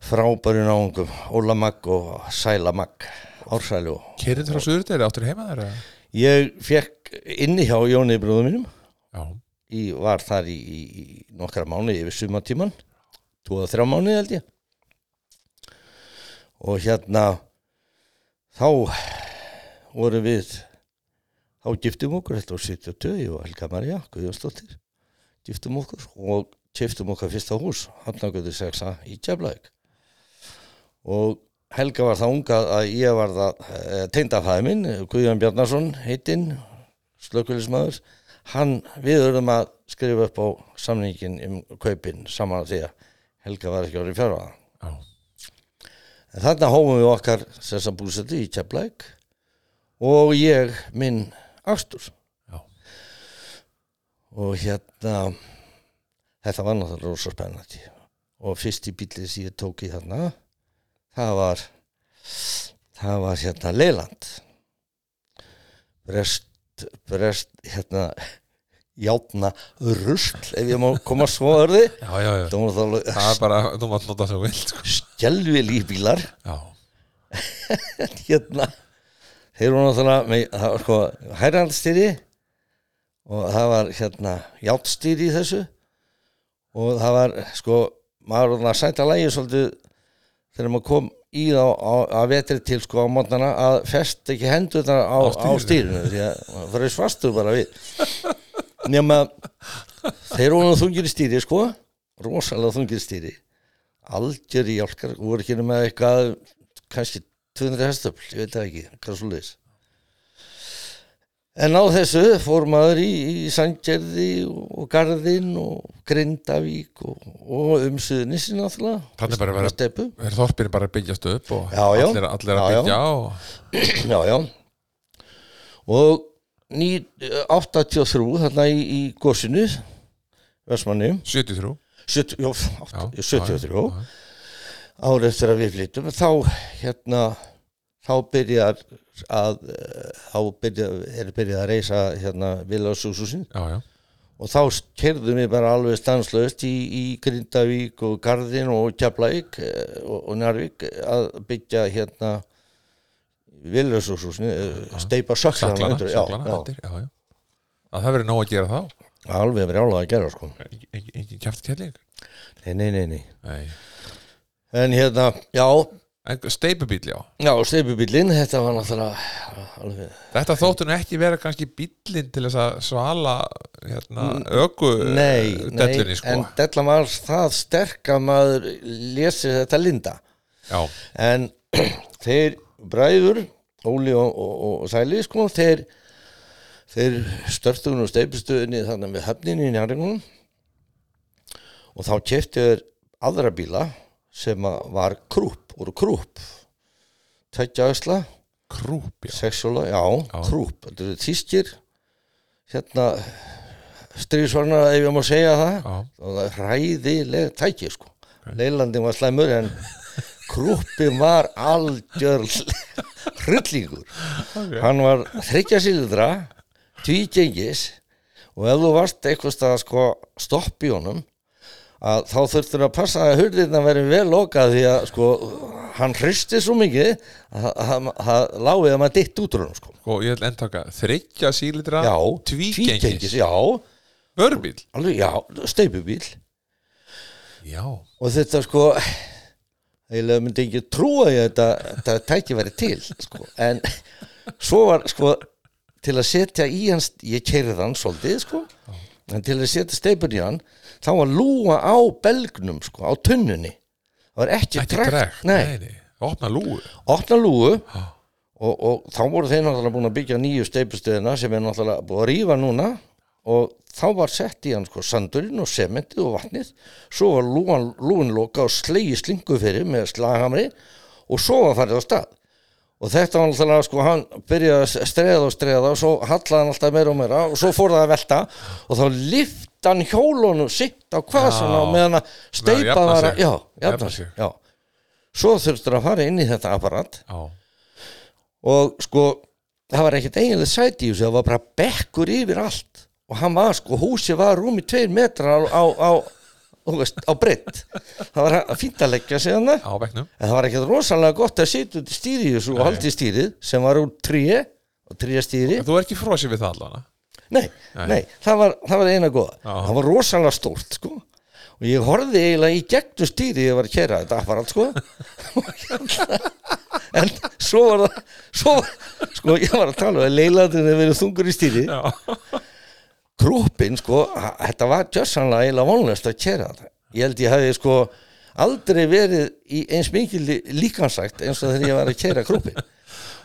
frábæru náungum Óla Magg og Sæla Magg Ársælu
kerið frá Suðurdeyri, áttur heima þar eða?
ég fekk inni hjá Jóni bróðum mínum
Já,
ég var þar í, í, í nokkra mánu yfir sumatíman tvo að þrjá mánu held ég og hérna þá vorum við þá giftum okkur þetta og 72 og Helga Maria Guðjónsdóttir giftum okkur og kiftum okkar fyrsta hús Hafnagöðu 6a í Keflæk og Helga var það unga að ég var það teindafæði minn, Guðjón Bjarnason heitinn, slökulismæður hann, við höfum að skrifa upp á samningin um kaupin saman að því að Helga var ekki árið fjárvæða.
já,
En þarna hófum við okkar sessa búsætti í Keflæk og ég minn Astur.
Já.
Og hérna, þetta var náttúrulega rosa spennandi. Og fyrst í bílið sem ég tók í þarna, það var, það var hérna Leiland. Brest, brest, hérna, játna rusl, ef ég má koma svo að orði.
já, já, já.
Það var náttúrulega
Það er bara, þú mátt nota svo vilt sko.
skjálfili bílar.
Já,
hérna þeir voru náttúrulega með, það var sko hærandstýri og það var hérna játstýri í þessu og það var sko maður var að sæta lægi svolítið þegar maður kom í þá á, á vetri til sko á mótnana að fest ekki hendur þetta á,
Á
á stýrinu því að maður fyrir svastu bara við nema þeir voru nú þungir í stýri sko rosalega þungir í stýri algjör í jálkar voru ekki nema eitthvað kannski 200 hestöfl, ég veit það ekki, hvað svo leiðis En á þessu fór maður í, í Sandgerði og Garðinn og Grindavík og, og um Suðnissi náttúrulega
Þarna er bara að vera-
Steppu.
er þorpin bara að byggjast upp og
Já, já.
allir, allir að
Já, já.
byggja og
Já, já Og ný, 83 þarna í, í gósinu Vestmanni
73
70, jó,
já,
8, 73
já, já,
ára eftir að við flyttum þá hérna þá byrjar að eh, þá byrja, er byrjað að reysa hérna Vilasúsúsin
já, já,
og þá kerðum við bara alveg stanslaust í, í Grindavík og Garðin og Keflavík eh, og, og Njarvík að byggja hérna eh, Vilasúsúsin steipa söklana,
saklana,
undir, já,
saklana allir, já, já að það verið nóg að gera þá
já, alveg brjálað að gera sko
Engin- engin engin kjæft kelling
nei, nei, nei, nei.
Nei.
en hérna, já,
en steipubíl, já
já, steipubillinn þetta var náttúrulega alveg
þetta þóttu nú ekki vera kannski bíllinn til þess að svala hérna, öku
nei,
dellunni,
nei
sko.
en dellan var það sterk að maður lesi þetta linda
já,
en þeir bræður Óli og, og, og Sæli sko, þeir, þeir störtugun og steipistöðinni þannig við höfninni í njáringunum og þá keftu þeir aðra bíla sem að var krúpp, voru krúpp tækja ösla
krúp, já
Sexuala, já, krúp Þetta eru tískir Hérna Stríðsvarna, ef ég má segja það
Já.
Og það er hræðileg tæki, sko Leilandin var slæmur en Krúppin var algjör Hryllingur Hann var þryggja síldra Tvígengis Og ef þú varst eitthvað stað að sko stopp í honum að þá þurftur að passa að hurðirna veri vel lokað því að sko hann hristi svo mikið að að- að- að láið að maður ditt út úr hann sko.
og ég vil endtaka þryggja sílitra
Já,
Ah, tvígengis,
Já,
vörbíl
alveg, já, steipubíl
já,
og þetta sko eiginlega myndi ekki trúa ég að þetta, þetta tæki væri til sko. en svo var sko til að setja í hans, ég keirði hann svolítið sko en til að setja steipur í hann þá var lúa á belgnum sko, á tunnunni það var ekki,
ekki
trekt,
dregt,
Nei,
nei, opna lúu
opna lúu
Já.
og, og þá voru þeir náttúrulega búin að byggja nýju steipurstöðina sem er náttúrulega búin að rífa núna og þá var sett í hann sko sandurinn og sementið og vatnið svo var lúan, lúin loka og slegi slingu fyrir með slaghamri og svo var farið á stað og þetta var náttúrulega sko hann byrjaði að streða og streða og svo hallaði hann alltaf meira og meira og svo fór það að velta og þá lyfti hann hjólunum sitt á hvað sem á
Já.
meðan að steipa
jafna
var
sig.
að, já,
Jafna
jafna
sig.
sig já. svo þurftur að fara inn í þetta apparat
já,
og sko það var ekkert eiginlega sæti í þessu það var bara bekkur yfir allt og hann var sko, húsið var rúmi tveir metrar á, á, á, þú veist, á breytt það var fínt að leggja sig hann en
á bekknum
það var ekkert rosalega gott að sitja út í stýri í þessu og
Nei.
haldi í stýrið sem var úr tríi og tríja stýri
En þú er ekki frosið við það allana
nei,
Nei.
nei. það, var, það var eina góða
Já.
það var rosalega stórt sko og ég horfði eiginlega í gegnum stýri ég var að kera þetta apparat sko en svo var það svo var, sko ég var að tala um að leilandin hefur verið þungur í stýri
já,
krúpin sko, a- þetta var tjössanlega eiginlega vonlust að kera þetta ég held ég hefði sko aldrei verið í eins mikil líkansagt eins og þegar ég var að kera krúpin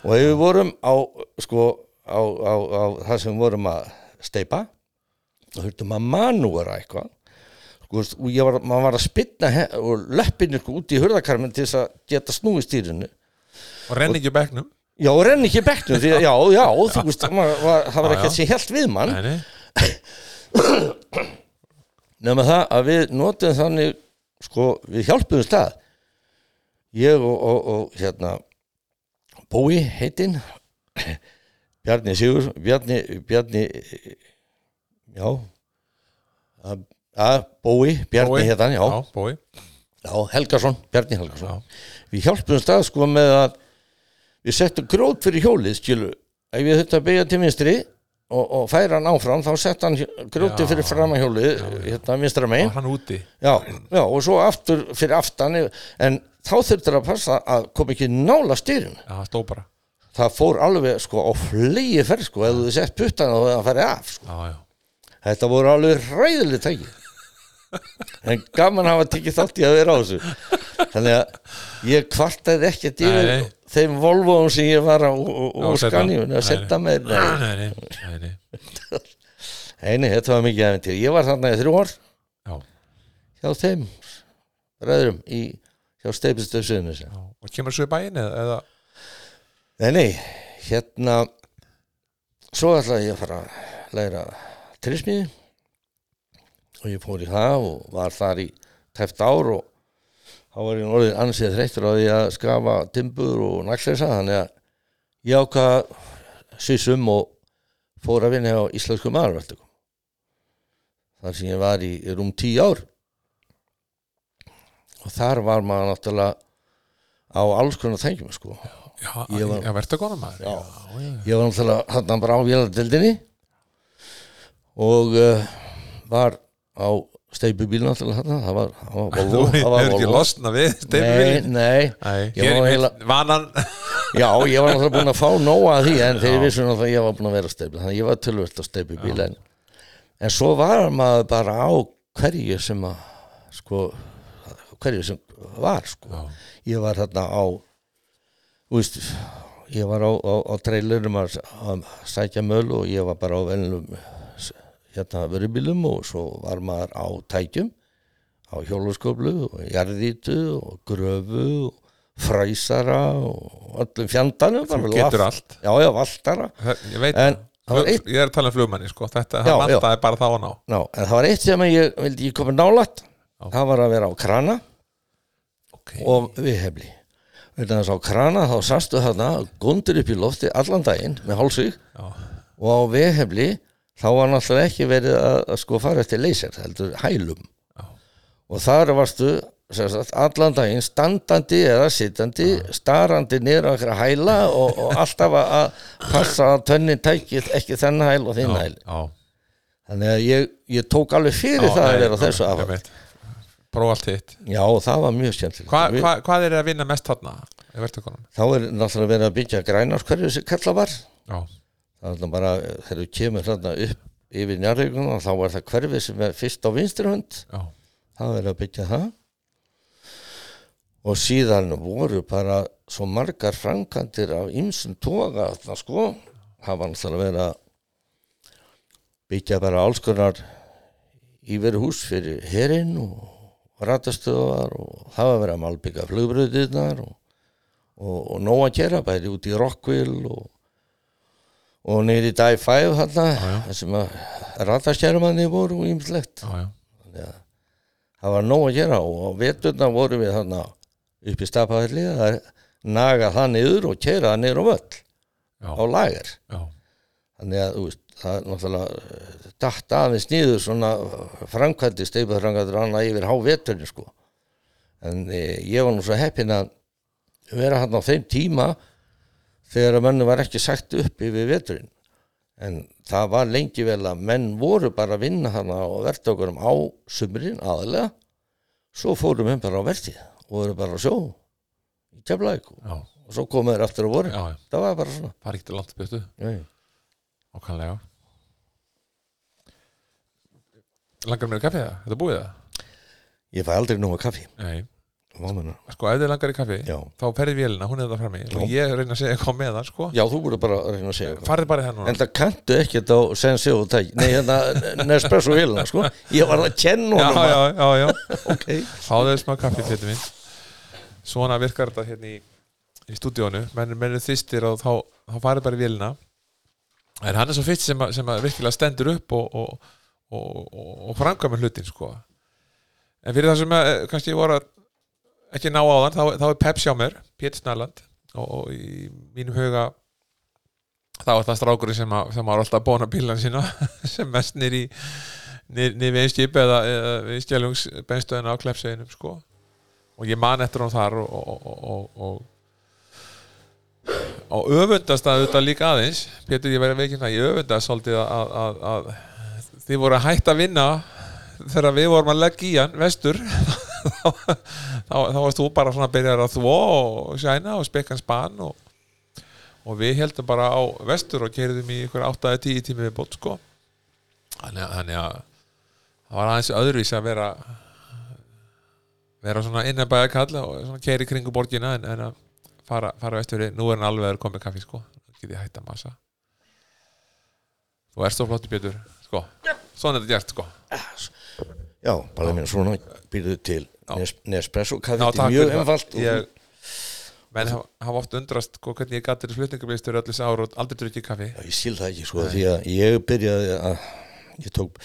og ef við vorum á sko á, á, á það sem við vorum að steipa þá þurftum að manúra eitthvað sko, veist, og ég var, maður var að spinna he- og löppin ykkur út í hurðakarmin til þess að geta snúið stýrinu
og renn ekki bekknum
Já, og renn ekki í bekknum því að, já, já, þú veist, maður, var, það var
Já, já.
ekki sem held við mann
nei, nei,
nema það að við notum þannig, sko, við hjálpum stað ég og, og, og hérna Bói heitinn Bjarni Sigur Bjarni, Bjarni já að, að Bói, Bjarni
Bói.
hérna, já,
já, bói
já, Helgason Bjarni Helgason
já,
við hjálpum stað sko með að við settum grót fyrir hjólið skilu ef við þetta beigja til vinstri og, og færa hann áfram þá sett hann gróti
Já.
fyrir fram að hjólið hérna vinstra megin
var hann úti
já, já, og svo aftur fyrir aftan en þá þurftur að passa að koma ekki nála styrin
já, hann stóð bara
það fór alveg sko á flegi ferð sko ef þú sett puttana og það færi af sko.
já, já,
þetta voru alveg ræðileg tæki en gaman að hafa tekið þátt í að vera á þessu þannig að ég kvartaði ekkert yfir
Nei.
þeim Volvoum sem ég var á, á, á
Já, setta.
skanjunni að
Nei.
setja með nei,
nei, nei, nei, nei.
nei, þetta var mikið aðventir ég var þarna í þrjú ár
Já,
hjá þeim ræðurum í, hjá steipistöfsuðinu
já, og kemur svo í bæinn eða, eða
nei, nei, hérna svo ætlaði ég að fara að læra trismiði og ég fór í það og var þar í tæft ár og þá var ég orðin ansið þreyttur á því að skafa timbur og naglesa þannig að ég ákvað að sýsum og fór að vinna á íslensku maðurvæltökum þar sem ég var í rúm tíu ár og þar var maður náttúrulega á alls konar tengjum sko.
já,
Ég var-
já, verður góðan maður
Já.
já,
ég var náttúrulega hann bara á véladeldinni og uh, var á steipubíl náttúrulega hann það var, það var
Þú
Volvo það var
hefur ekki
Volvo.
losna við
Nei,
Steipubílinn.
nei,
Nei,
Ég
hér
var
í heila...
heila-
vanan
já, ég var náttúrulega búin að fá nóa að því en þeir
Já.
vissu náttúrulega að ég var búin að vera steipil þannig að ég var tölvöld á steipubíl en, en svo var maður bara á hverju sem að sko, hverju sem var sko.
Já.
ég var þarna á þú veist, ég var á, á, á trailerum að, að sækja möl og ég var bara á velnum hérna vörubílum og svo var maður á tækjum á hjólusköflu og jarðítu og gröfu og fræsara og öllum fjandanum
Þú
bara
getur
laft-
allt
já, já, valtara
Það- Ég veit
en það var
Flug-
eitt
Ég er að tala um flugmanni sko Þetta,
Já,
hann
já.
vantaði bara þá hann á
ná, en það var eitt sem ég vildi ég komið nálat
Já.
það var að vera á krana
okay.
og viðhefli vegna þess að á krana þá sastu þarna gundur upp í lofti allan daginn með hálsvík
já,
og á viðhefli þá var náttúrulega ekki verið að, að sko fara eftir leyser heldur hælum
Já.
og þar varstu sem sagt, allan daginn standandi eða sittandi starandi niður á einhverja hæla og, og alltaf að- að passa að tönnin tæki ekki þennan hæl og þinn
já,
hæl
já,
þannig að ég, ég tók alveg fyrir
já,
það
nei,
að vera á
já,
þessu
ég
afhald
veit. Prófa allt hitt
já og það var mjög skemmtilegt
Hva,
Við-
hva, Hvað er að vinna mest þarna? Í vertikónum
þá er náttúrulega verið að byggja grænarskverju sem kalla var
Já,
það er náttúrulega bara eh, þegar þú kemur þarna upp yfir njárvíkuna þá var það hverfið sem er fyrst á vinstri hönd
já,
það er að byggja það og síðan voru bara svo margar frankandir af ymsum toga þarna sko það var náttúrulega að vera að byggja bara alls konar íveruhús fyrir herinn og ratastöðar og það var að vera að malbyggja flugbröðirnar og, og, og nóg að gera bæði út í Rockville og, og niður í Dive 5 þarna, þessum að rataskermanni voru og ymslegt
já, já,
Já. Það var nóg að gera og á veturna vorum við þarna upp í stapaðalli að naga það niður og kera það niður á völl
já,
á lager.
já,
Þannig að þú veist, það er náttúrulega eh, datt aðeins niður svona eh, framkvæmdi steipað framkvæmdur annað yfir há veturni sko. En e, ég var nú svo heppin að vera hann á þeim tíma þegar að mönnum var ekki sagt upp yfir veturinn. En það var lengi vel að menn voru bara að vinna hana og verða okkur um á sumrin aðalega. Svo fórum við bara á vertið og voru bara að sjó í keflæk og
já,
svo komum við aftur á voru.
já, já.
Það var bara svona.
það er ekkert langt byrtu
Jæja.
Okkanlega Langar mér að kaffi það? Þetta búið það?
Ég fæ aldrei nóg að kaffi.
Nei,
Váminu.
sko ef þið langar í kaffi
Já.
þá ferði vélina, hún er það frammi og ég reyna að segja eitthvað með það sko
Já, þú voru bara að reyna að segja eitthvað.
Farði bara í það núna
En það kanntu ekkert á Senseo tæk, nei hérna Nespresso vilna, sko. Ég var að kenna
Já,
honum.
já, já, já
Ok.
Fáðu þess maður kaffi fyrir minn Svona virkar þetta hérna í, í stúdíónu menn, menn er þýstir og þá, þá farið bara í vélina en hann er svo fyrst sem, að, sem að virkilega stendur upp og, og, og, og, og franga með hlutin sko en fyrir það sem að, eh, kannski ég voru að ekki ná á þann, þá, þá er Pepsi á mér Pétur Snarland og, og í mínum huga þá er það strákurinn sem, að, sem var alltaf að bóna bílan sína sem mest nýr í niður við einskip eða, eða við skjálungs benstöðina á Kleppseginum sko. og ég man eftir hann þar og, og, og, og, og, og öfundast að þetta líka aðeins Pétur ég verið veikinn að ég öfundast svolítið að, að, að, að þið voru að hætta að vinna þegar við vorum að leggja í hann vestur þá, þá, þá varst þú bara svona að byrja að þvó og sæna og spekka hans bann og, og við heldum bara á vestur og kerðum í ykkur 8-10 tími við bótt sko þannig að, þannig að það var aðeins öðruvísi að vera vera svona innabæða kall og svona keiri kringu borgina en, en að fara, fara vestur nú er hann alveg að komið kaffi sko Nú get ég hætt að massa þú ert svo flottur Pétur sko, svona er þetta gert sko
Já, bara mér svona býrðu til Nes- Nespresso kaffi,
Já,
þetta
takk
er
fyrir
mjög
það.
einfalt.
ég, menn hafa, hafa oft undrast sko, hvernig ég gæti þér flutningabýstur öllis ára og aldrei drukkið kaffi
Já, ég skil það ekki, sko, því að ég byrjaði að, ég tók,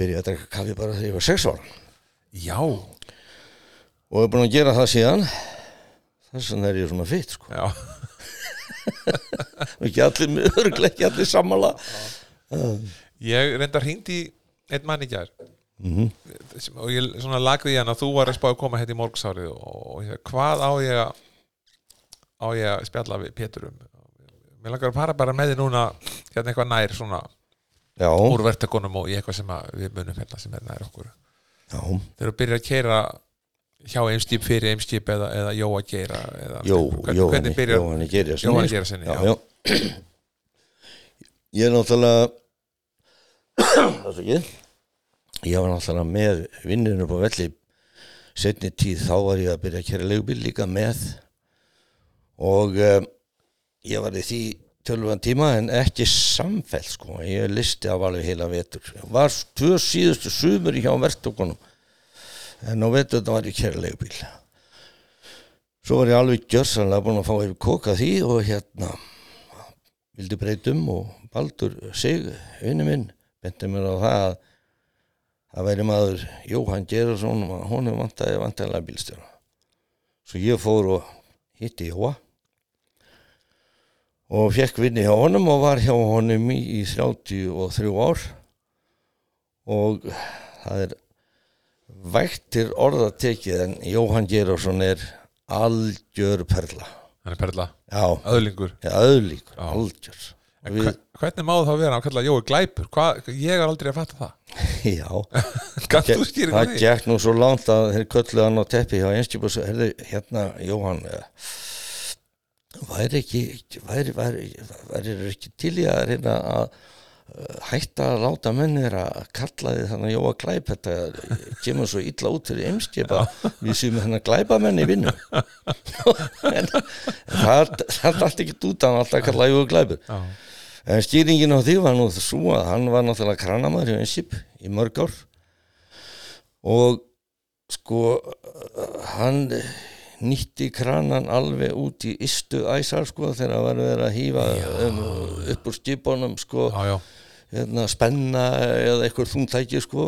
byrjaði að drekka kaffi bara þegar ég var sex ára.
já,
Og ég er búin að gera það síðan. Þess vegna er ég svona fyrt, sko.
já,
Ekki allir, örglega ekki allir sammála.
ég reyndar hringdi í einn mann í gær
Mm
sem- og ég svona lagði í hann að þú var að spá að koma hérna í morgsárið og, og ég, hvað á ég að á ég að spjalla við Pétur um mér langar að fara bara með því núna hérna eitthvað nær svona
Já,
úr verktakonum og í eitthvað sem að við munum hérna sem er nær okkur
já,
þegar þú byrjar að keira hjá eimskip fyrir eimskip eða, eða jó að gera eða,
jó,
hvernig,
jó,
hvernig byrjar
jó, henni gerir
jó að gera sinni
já,
já,
já. ég er náttúrulega Afsakið. ég var náttúrulega með vinninu upp á velli setni tíð þá var ég að byrja að kæra leigubíl líka með og um, ég var í því tölvan tíma en ekki samfell sko, ég listi af alveg heila vetur Ég var tvö síðustu sumur hjá verktokunum en á vetur þetta var ég kæra leigubíl svo var ég alveg gjörsanlega búin að fá yfir koka því og hérna vildi breytum og Baldur Sig, vinnu minn, benti mér á það að að veri maður Jóhann Gerarsson og hún er vantaði vantaðilega bílstjóra. Svo ég fór og hitti Jóa og fekk vinni hjá honum og var hjá honum í, í 33 ár og það er vægtir orða tekið en Jóhann Gerarsson er algjör perla.
hann er perla,
Já,
öðlingur
Já, öðlíkur,
Já.
algjör
En
við,
hve- hvernig má það vera að kalla Jói glæpur Hva, ég er aldrei að fatta það
Já,
Gaf
Ge-
þú skýringu á
það
því?
gekk nú svo langt að þeir kölluðu hann á teppi hjá einskip og svo, herðu, hérna, Jóhann eh, væri ekki væri, væri, væri, væri ekki til í að reyna að hætta að láta mennir að kalla því þannig að jóa glæp þetta kemur svo illa út fyrir eimskipa við séum þannig að glæpa menni vinnu en það, það er allt ekki út hann alltaf að kalla jóa glæpur
Já,
en skýringin á því var nú svo að hann var náttúrulega kranamaður hjá Einskip í mörg ár og sko uh, hann nýtti kranan alveg út í ystu æsar sko þegar var verið að hýfa um, upp úr skipunum sko
já, já,
hérna, spenna eða eitthvað þungtæki sko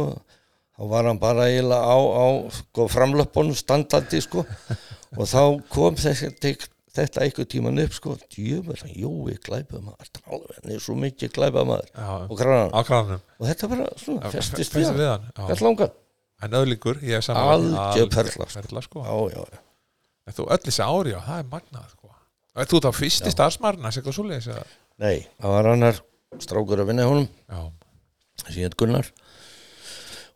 þá var hann bara eiginlega á, á sko, framlöpunum standandi sko og þá kom þessi, tek, þetta eitthvað tíman upp sko djöfur, jói, glæpamaður þetta er alveg, hann er svo mikið glæpamaður
já.
og kranan,
Á kranum.
og þetta bara svona, festist
Festist
við hann,
við hann. Já.
gætt langan
En öðlingur, ég er saman.
Algjör perla, sko.
Perla, sko.
já, já, já,
En þú öll þessi ári, já, það er magnað, sko. En þú þá fyrsti starfsmarna, segðu svo leiðis að...
nei, það var annar strákur að vinna í honum
Já,
sem ég heit Gunnar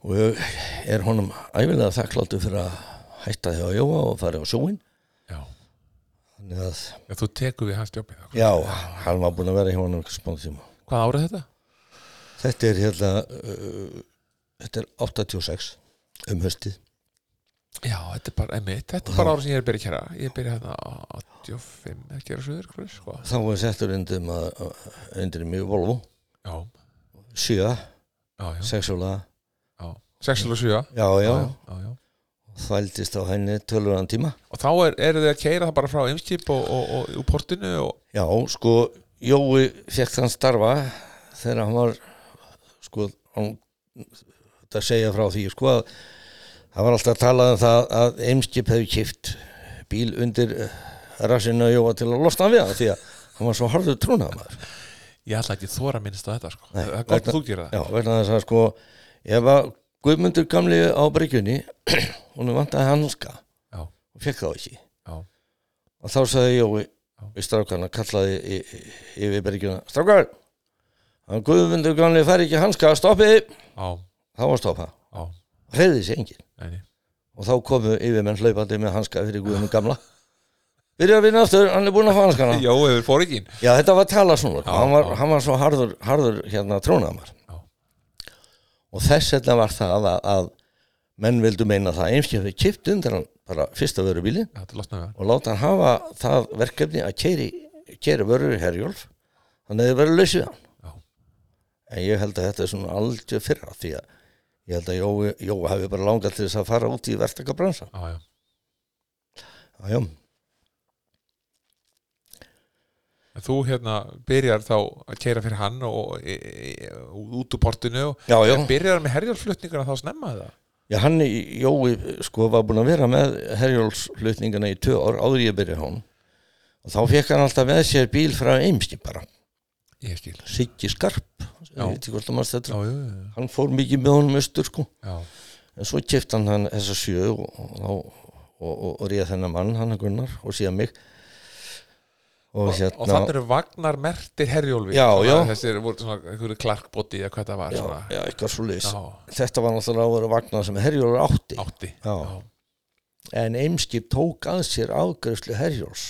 og ég er honum æfilega þakkláttu fyrir að hætta því að jóa og fara á sjóin
já.
þannig að
Já, þú tekur við hans jobbið. þá.
Já, hann var búin að vera hjá hann einhver smá tíma.
Hvað árið þetta?
Þetta er hérna uh, þetta er 86 um höstið.
Já, þetta er bara, emitt, þetta er bara árið sem ég er að byrja að kæra. Ég byrja hérna á 85, ekki er að söður, hvað, sko.
Þá var settur undir maður undir mjög Volvo,
Já,
sjö,
já, já.
sexulega,
já. 6 og 7.
já, já,
já, já.
þvældist á henni tölvöðan tíma.
Og þá er, eru þið að keira það bara frá Eimskip og, og, og úr portinu og...
Já, sko, Jói fekk þann starfa þegar hann var sko, hann, þetta segja frá því, sko, að það var alltaf að tala um það að Eimskip hefði kipt bíl undir rassinu að Jóa til að losna hann við hann því að hann var svo harður trúnaðamæður.
Ég ætla ekki þóra að minnst á þetta, sko.
Nei,
það er gott
vegna-
að þú gera það.
Já, vegna þess að sko ef að Guðmundur gamli á bryggjunni hún vantaði hanska
Já.
og fekk þá ekki
Já.
og þá sagði Jói við strákana kallaði í, í, yfir bryggjuna strákar, hann Guðmundur gamli fær ekki hanska, stoppiði
Já,
þá var stoppa,
já,
reyði sér engin
neini.
og þá komu yfirmenn hlaupandi með hanska fyrir Guðmund gamla byrja að vinna aftur, hann er búinn að fá hanskana
Jó, hefur fóringin.
Já, þetta var tala svona,
Já,
hann, var,
já.
hann var svo harður, harður hérna trónamar
Já.
og þess vegna var það að, að menn vildu meina það einskjöf við kipt undir hann bara fyrst að veru bílinn
Já, þetta losnaði við hann.
og láta hann hafa það verkefni að keiri, keiri vörur í Herjólf þannig að þið verður lausið hann
Já.
en ég held að þetta er svona aldrei fyrra því að ég held að Jói, Jói hafi bara langað til þess að fara út í verktakabransa
Já, já.
Já, já,
En þú hérna byrjar þá að keira fyrir hann og, og e, e, út úr portinu og
já, já.
En byrjar með herjarflutningar þá snemma það?
Já, hann, Jói, sko, var búin að vera með herjólfslutningana í tvö ár áður ég byrja hún og þá fekk hann alltaf með sér bíl frá Eimski bara,
Ég skil.
Siggi Skarp
Já.
ég veit ekki hvort það maður
Já,
þetta
já,
hann fór mikið með honum austur, sko
já.
en svo kipti hann hann þessa sjö og, og, og, og, og réð þennan mann, hann að Gunnar og síðan mig og,
Og,
hérna,
og þannig eru Vagnar mertir herjólfi.
Já,
Svona
já.
Þessir voru svona einhverju klarkbóti eða hvað það var
já,
svona.
já, eitthvað svo leys
Já,
þetta var náttúrulega að vera vagnar sem herjólfur átti
átti.
Já. en Eimski tók að sér afgjörslu herjóls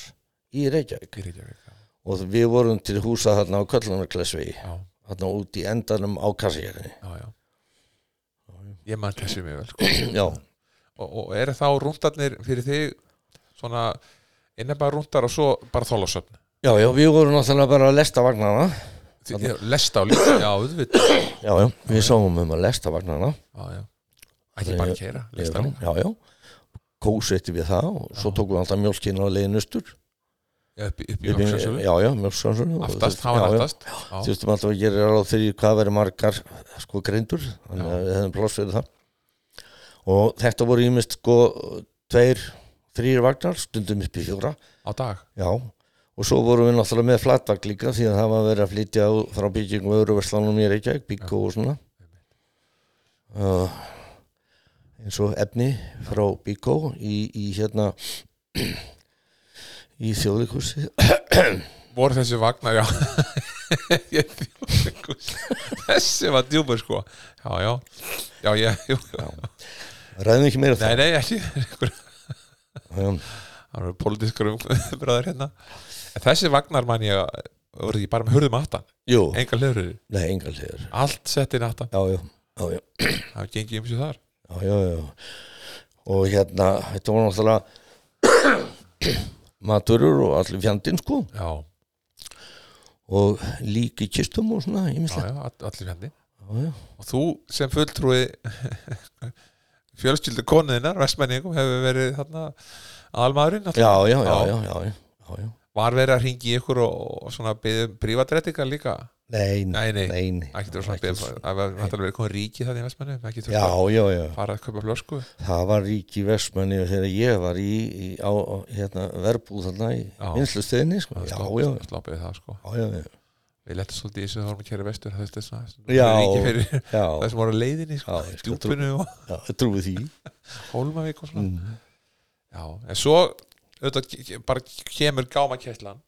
í Reykjavík
Í Reykjavík, já.
og við vorum til húsa þarna á Köllunarklesvi
Já,
þarna út í endanum á Kassíkjarni
já, já. Ég mann þessu mjög vel. Sko.
já,
Og, og eru þá rúndarnir fyrir þig svona innan bara rúndar og svo bara þólasöfn?
já, já, við vorum náttúrulega bara að lesta vagnana
Lesta á líka, já, auðvitað.
já, já, við sáum um að lesta vagnana
Já, já. Ekki bara keira, lesta á líka.
já, já, kósetti við það og svo tókum við alltaf mjólkina á leiðin austur
Já, upp, upp í
Við-
vaksasölu.
já, já, mjólksansölu
Aftast, hafa hann aftast.
þú
Já,
veistum alltaf að gera ráð fyrir hvað verið margar sko grindur þannig að við hefum pláss fyrir það og þetta voru ímist sko tveir, þrýr vagnar stundum upp í fjóra,
á dag.
já og svo vorum við náttúrulega með flatvagn líka því að það var verið að flytja á- frá byggingum öruverslanum í Reykjavík, byggó og svona uh, eins og efni frá byggó í, í hérna í þjóðleikhúsi
voru þessi vagnar, já Ég þjóðleikus. þessi var djúpur sko já, já, já, ég jú, jú.
ræðum ekki meira
nei,
það
nei, ekki það
um,
um- eru pólitískar umbröður hérna en þessi vagnar man ég að voru ekki bara með hurðum aftan,
Jú,
enga hliður
nei, engal hliður
allt sett inn aftan,
Já, já, já, já
það gengi um sér þar
já, já, já. og hérna þetta var náttúrulega maturur og allir fjandinn sko
já,
og líki kistum og svona ég
já,
misla
já, all- allir fjandi
já, já.
og þú sem fulltrúi fjölskyldu konuðinnar vestmenningum hefur verið þarna aðalmaðurinn náttúrulega.
Já, já, já,
Já.
já, já, já, já, já.
var verið að ringi ykkur og, og svona byggðum prívatrettingar líka
Nei,
Nei, nei.
nei, nei.
ekki þú svona
Ekki
byggðum
svo-
það var náttúrulega verið komið ríki það í vestmenningum ekki þú
Já, já, já,
fara að kaupa flösku
það var ríki vestmenni og þegar ég var í, í á, á- hérna, verbúð þarna í
Já.
vinslustöðinni, sko,
Það
já,
slapp-
já,
slappið það sko
já, já, já,
við lettum svolítið í þessu þormi kæri vestur það er svona
Já.
ríki fyrir það
já,
sem voru á leiðinni sko,
Já, ég skal
djúpinu og
já, ég trúi því.
hólmavík og svona
Mm.
já, en svo auðvitað, ke- ke- bara kemur gámakesslan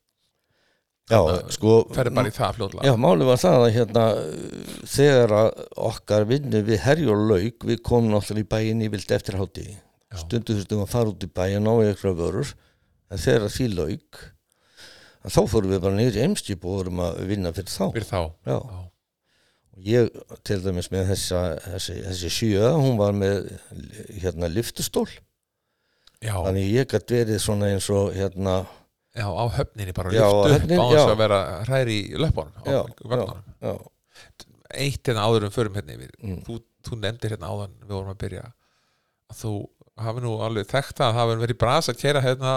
Já,
Þarna
sko,
ferði Hérna, bara í það fljóðlega
Já, málið var það að hérna þegar að okkar vinnu við herjólauk, við komum náttúrulega í bæinn í vild eftir hátti.
Já.
Stundu þurftum að fara út í bæinn á eitthvað vörur, en þegar að því lauk, að þá fórum við bara niður í eimskip og vorum að vinna fyrir þá.
fyrir þá
Já,
já,
ég til dæmis með þessa, þessi, þessi sjö, hún var með hérna lyftustól,
já,
þannig ég gætt verið svona eins og hérna,
já á höfninni bara
Já, á
lyftu
höfninni,
á þess
já.
að vera hræri í löpunum
Já,
á vagnunum
já,
eitt hérna áður um förum hérna yfir
mm,
þú, þú nefndir hérna áðan við vorum að byrja að þú hafi nú alveg þekkt að það hafi verið bras að kera hérna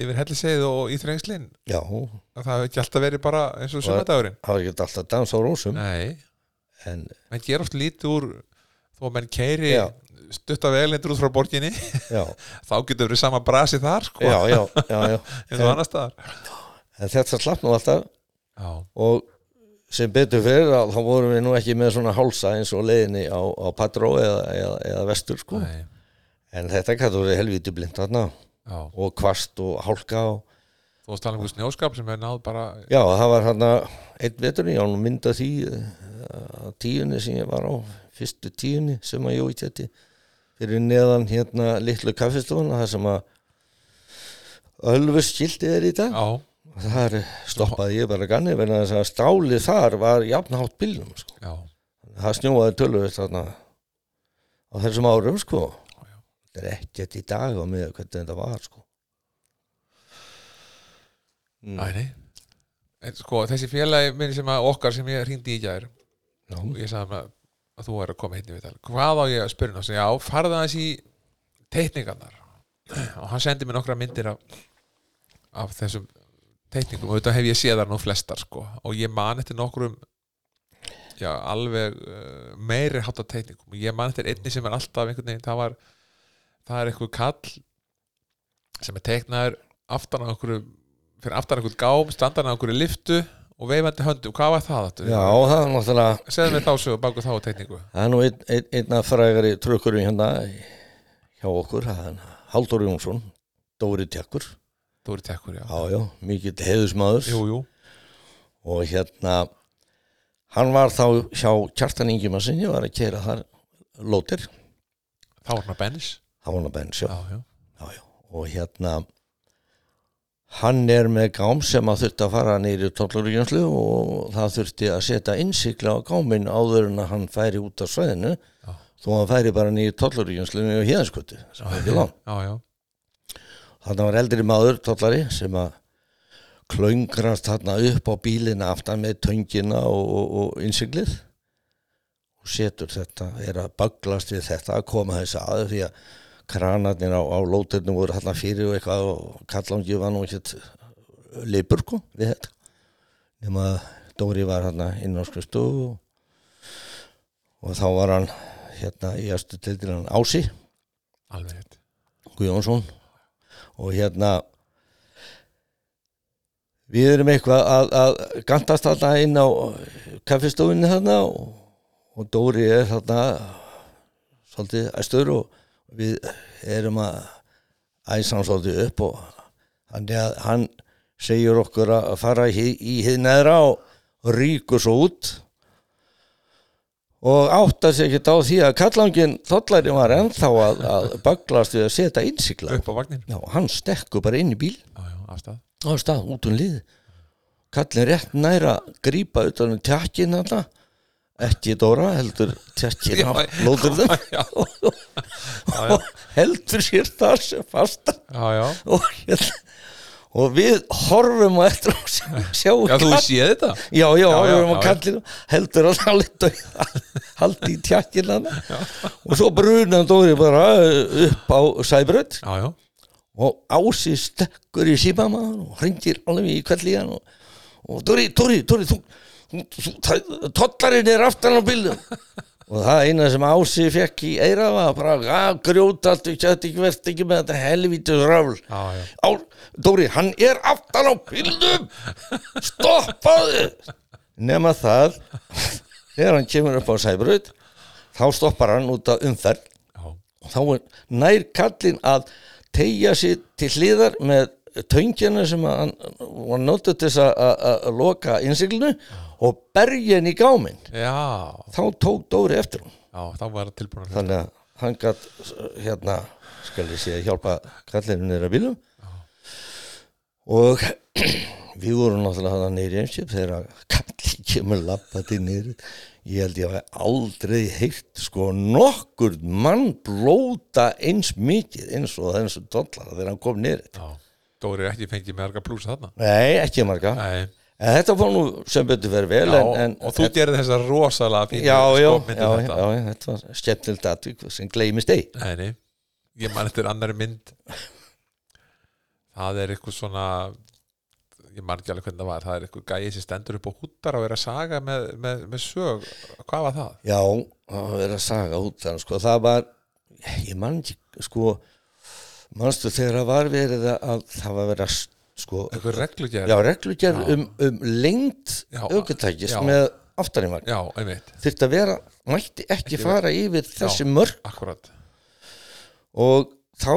yfir hellisegið og í þrengslinn
já, það
að það hafi ekki alltaf verið bara eins og
Og-
sömandagurinn
var ekki alltaf dans á rósum,
nei,
en
menn gera oft lítið úr þó að menn keiri
Já.
stutta velindur út frá borginni
já,
þá getur verið sama brasi þar sko,
já, já, já, já.
eins og annar staðar
En þetta slapp nú alltaf
já,
og sem betur fyrir að þá vorum við nú ekki með svona hálsa eins og leiðinni á, á Patró eða, eða, eða vestur sko.
nei,
En þetta gæti verið helviti blind þarna
já
og kvast og hálka og
þú varst talað um einhver snjóskap sem er náð bara
já það var hann einn veturinn, já nú mynda því eh, tíunni sem ég var á, fyrstu tíunni sem að ég út þetta fyrir neðan hérna litlu kaffistofuna það sem að Ölfus skildi er í dag
já,
þar stoppaði ég bara ganni verðan þess að stálið þar var jafnhátt bílnum sko.
já,
það snjóaði tölvöld þarna á þessum árum sko
já.
þetta er ekkert í dag á mig hvernig þetta var sko
næ, nei en sko, þessi félagi minn sem að okkar sem ég hringdi í gær
Já,
og ég sagði hann að, að þú er að koma hérna við tal hvað á ég að spyrja hann Hann sagði, já, farða aðeins í teikningarnar og hann sendi mér nokkra myndir af, af þessum teikningum og auðvitað hef ég séð þar nú flestar sko og ég man eftir nokkrum já, alveg uh, meiri hátta teikningum ég man eftir einni sem er alltaf einhvern veginn það var, það er einhver kall sem er teiknaður aftan á einhverju fyrir aftan á einhverju gám, standan á einhverju liftu og veifandi höndum, hvað var það? aftur?
já það er náttúrulega
segðu mér þá sögur baku þá tekningu
það er nú einn ein, ein af frægari trökkurum hérna hjá okkur það er Haldur Jónsson, Dóri Tjakkur
Dóri Tekkur, já,
já já, mikill heiðusmaður
jú, jú,
og hérna hann var þá hjá Kjartan Ingjumar sinni var að keira þar lótir,
þá var hann að bens
það var hann að bensjó
já, já,
já, já. og hérna hann er með gám sem að þurfti að fara nýri tóllaríkjanslu og það þurfti að setja innsikla á gáminn áður en að hann færi út af svæðinu
Já.
þó hann færi bara nýri tóllaríkjanslu og hérðanskutu þannig
já, já,
var eldri maður tollari sem að klöngrast þarna upp á bílina aftan með töngina og, og, og innsiklið og setur þetta, er að bögglast við þetta að koma þess að því að kranarnir á, á lótirnum voru hérna fyrir og eitthvað og kallangi var nú ekkert leipur sko við þetta nema að Dóri var hérna inn á skristu og, og þá var hann hérna í aðstu tildir hann Ási
alveg rétt
Guðjónsson og hérna við erum eitthvað að, að gantast þarna inn á kaffistofinni þarna og, og Dóri er þarna svolítið æstur og við erum að æsa hann svolítið upp og hann, er- hann segir okkur að fara í, í hiðneðra og ríkur svo út og átta sig ekki á því að kallangin þollari var ennþá að, að böglast við að setja innsikla
upp á vagnin,
Já, hann stekkur bara inn í bíl
já, já, afstæð
á stað út um lið kallin rétt næra grípa utan um tjakkin þarna ekki Dóra, heldur tjakkin á lóðurðum
já, já.
og heldur sér þar sem fasta
já, já.
og, hérna, og við horfum á eftir og sjáum
Já, þú
kall-
séð þetta?
já, já,
Já, já,
horfum
já,
á
já.
kallinu heldur að hann leta haldi í tjakkin hana og svo brunan Dóri bara upp á sæbrödd
Já, já.
og Ási stekkur í símamann og hringir alveg í kvelli í hann og, og Dóri, Dóri, Dóri þú, þú, þú, það- tollarinn er aftan á bílnum og það eina sem Ási fekk í eira var bara að grjóta allt, kjætt ekki verðt ekki með þetta helvítið röfl
Já, já.
Á, Dóri, hann er aftan á bílnum stoppaðu nema það þegar hann kemur upp á sæbrut þá stoppar hann út af umferð
Já,
og þá er nær kallinn að tegja sér til hliðar með töngina sem að hann var notið til þess að- að að loka innsiklinu og berja henni í gáminn
já,
þá tók Dóri eftir hún
já þá var það tilbúin að hlusta.
þannig að hann gatt hérna skal ég sé að hjálpa kallinu neyra bílum og við vorum náttúrulega hann neyri einskip þegar kallin kemur lappandi neyri ég held ég hafi aldrei heilt sko nokkur mann blóta eins mikið eins og eins og dollara þegar hann kom neyri
Já, Dóri er ekki fengið með arga plúsa þarna.
nei ekki marga
Nei,
en þetta var nú sem betur verið vel
já,
en, en,
og þú gerði þessa rosalega fínu
já, já, já,
skopmynd um
já,
þetta.
já, þetta var skemmtilegt atvík sem gleymist ei
Nei, nei, ég man þetta er annari mynd Það er eitthvað svona ég man ekki alveg hvernig það var það er eitthvað gæið sem stendur upp á húttar og er að saga með, með, með sög hvað var það?
Já, það var verið að saga út þannig sko, það var ég man ekki sko manstu þegar það var verið að- að það var verið að sko,
eitthvað reglugjær?
já, reglugjörð um, um lengt
Já,
aukutækist
já.
með aftanímagn,
já, einmitt,
þurfti að vera mætti ekki fara yfir þessi mörg
akkurat
og þá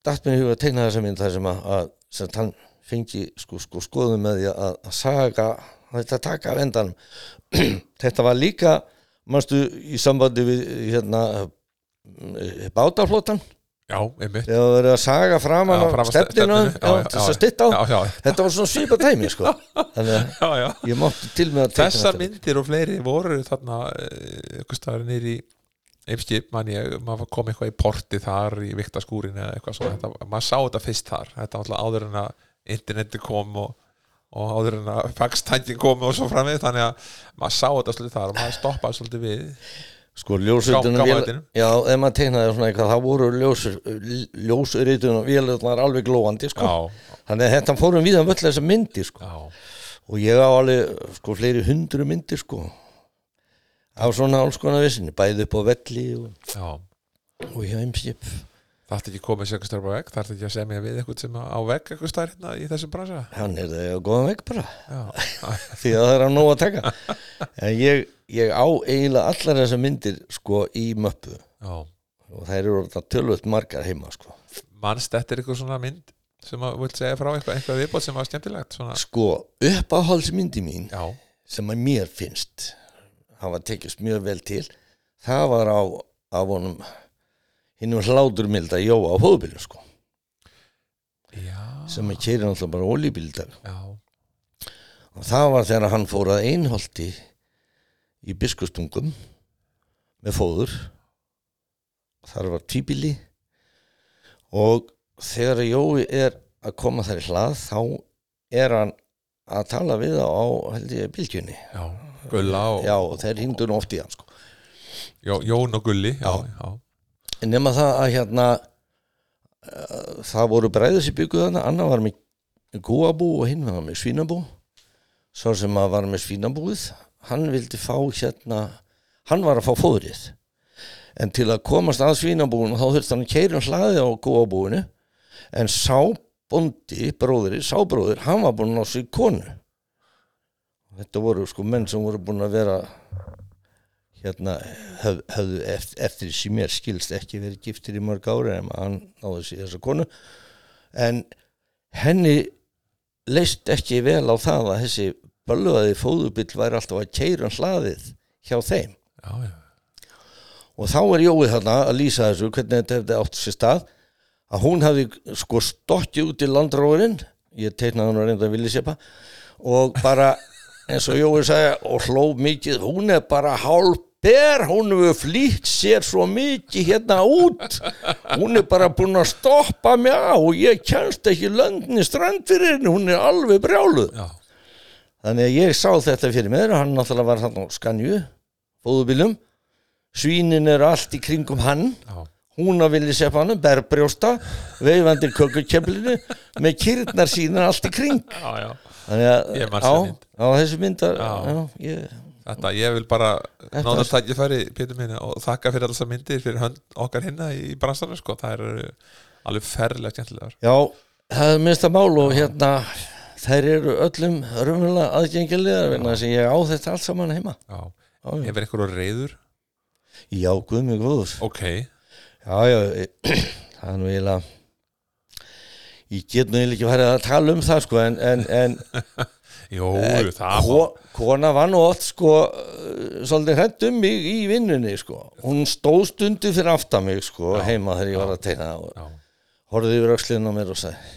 datt mér í huga að teikna þessa mynd þar sem að, að sem hann fengi sko, sko skoðum með því að, að saga þetta taka af endanum þetta var líka manstu í sambandi við hérna eh, bátaflotan
já, einmitt
þegar það verið að saga
Já,
framan á
fram að
stefninu
stefninu, já, já,
já, til þess
já.
að stytta á
já, já,
þetta var svona svipa tæmi sko þannig að
já, já.
ég mátti til með að teikna
þessar
þetta.
myndir og fleiri voru þarna eitthvað staðar nýri í Eimskip, man ég, maður kom eitthvað í porti þar í viktaskúrin eða eitthvað svo þetta, maður sá þetta fyrst þar, þetta var alltaf áður en að interneti kom og, og áður en að faxtækin kom og svo framvið, þannig að maður sá þetta svolítið þar og maður stoppaði svolítið við
sko ljósritunum
Gá-
vél-
gámaðinum.
já, ef maður teiknaði svona eitthvað þá voru ljósur, ljósritunum vélarnar alveg glóandi sko.
já,
þannig að þetta fórum við að völl þessar myndir sko.
já,
og ég á alveg sko fleiri hundru myndir sko af svona alls konar vissinni, bæði upp á velli og,
já
og hjá heimskip
það ætti ekki komið sér eitthvað stærpa vegg, það ætti ekki að semja við eitthvað sem á vegg eitthvað stær hérna í þessum bransa
hann er það að góða vekk bara
já,
því að það er að nóg að taka en ég, ég á eiginlega allar þessar myndir sko í möppu
já
og þær eru orðnar tölvöld margar heima sko
mannst þetta er eitthvað svona mynd sem að vilt segja frá eitthvað, eitthvað viðbót sem var skemmtilegt svona,
sko uppáhaldsmyndi mín
já,
sem að mér finnst hafa tekist mjög vel til það var á, á honum hinnum hláturmilda Jóa á hóðbílu sko
já
sem að keiri náttúrulega bara olíbíldag
já,
og það var þegar hann fór að einholti í biskustungum með fóður þar var tíbili og þegar Jói er að koma þar í hlað þá er hann að tala við þá á held ég bylgjunni
já, gulla og
já og þeir hingdur oft í hann sko
Jó, Jón og Gulli já,
Já.
já,
En nema það að hérna uh, það voru bræður sem bygguð þarna annar var með kúabú og hinn var með svínabú svo sem að var með svínabúið hann vildi fá hérna hann var að fá fóðrið en til að komast að svínabúinu þá þurfti hann að keyra um hlaði á kúabúinu en sá bondi bróðri, sá bróðir, hann var búinn að ná sér konu þetta voru sko menn sem voru búin að vera hérna höf, höfðu eft- eftir sem mér skilst ekki verið giftir í mörg ári en hann náði sér þessa konu en henni leist ekki vel á það að þessi bölvaði fóðubill væri alltaf að keira hlaðið hjá þeim
já, já.
og þá er Jói þarna að lýsa þessu hvernig þetta hefði átt sér stað að hún hafði sko stokkið út í landróðurinn ég teiknaði hún að reynda að vilja sepa og bara eins og Jói sagði og hló mikið, hún er bara hálf ber, hún hefur flýtt sér svo mikið hérna út hún er bara búin að stoppa mig á og ég kjænst ekki löndin í strand fyrir henni, hún er alveg brjáluð
já,
Þannig að ég sá þetta fyrir mér, hann náttúrulega var hann á skanju, fóðubilum, svínin eru allt í kringum hann,
já,
hún að vilja sefa hann, berbrjósta, veifandi kökukemplinu, með kýrnar sínar allt í kring.
já, já.
Þannig að
Ég man
á,
þessa mynd.
á þessu myndar,
Já.
já, ég,
Þetta, ég vil bara
Þetta
náða
er-
tækifæri, Pétur minna, og þakka fyrir alls að myndir fyrir hönd okkar hinna í bransanum, sko. Það eru alveg ferlega skemmtilegar.
já, það er minnsta mál og hérna, þær eru öllum raunverulega aðgengilegar, vegna þess að ég á þetta allt saman heima.
Já.
Já, já.
Hefur einhverju reyður?
Já, guð mig góður.
Ok.
Já, já, ég- það er nú eiginlega ég get nú eiginlega ekki farið að tala um það sko en, en, en
Jú, það
ko, kona var nú oft sko eh, svolítið hrætt um mig í vinnunni sko hún stóð stundu fyrir aftan mig sko
Já,
heima þegar ég
já.
var að teina og
Já,
horfði yfir öxlinn á mér og sagði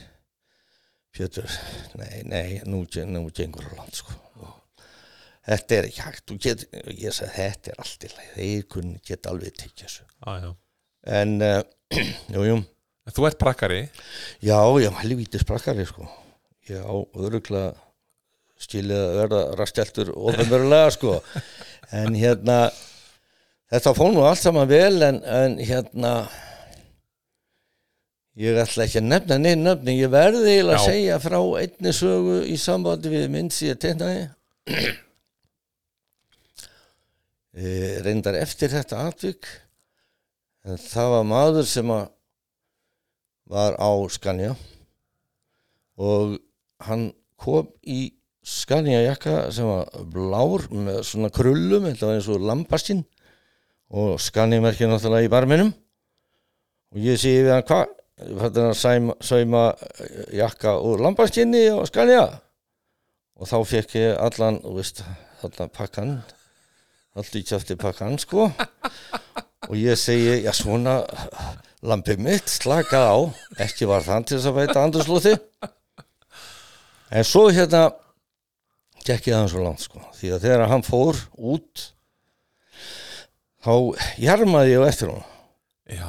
Pétur, nei, nei, nú, gen- nú gengur á land sko þetta er ekki hægt þú get, ég sagði þetta er allt í leið þeir kunni geta alveg tekið þessu
já, já.
en, uh, jú, jú
En Þú ert prakkari.
Já, ég var helvítið sprakkari sko. Ég á öruglega skilið að verða rastjæltur ofinverulega sko. En hérna, þetta fór nú allt saman vel en, en hérna, ég ætla ekki að nefna neinn nöfni. Ég verði eiginlega
Já.
að segja frá einni sögu í sambandi við mynd sem ég tegnaði. Eh, reyndar eftir þetta atvik en það var maður sem að var á Skanja og hann kom í Skanja jakka sem var blár með svona krullum, þetta var eins og lambastinn og Skanja merkir náttúrulega í barminum og ég segi við hann hvað þetta er að sæma, sæma eh, jakka úr lambastinni og Skanja og þá fekk ég allan, þú veist, allan pakkan allt í kjátti pakkan sko og ég segi, já svona lampið mitt slakað á ekki var þann til þess að veita andurslóti en svo hérna gekk ég aðeins og langt sko því að þegar hann fór út þá jarmaði ég á eftir hún
Já,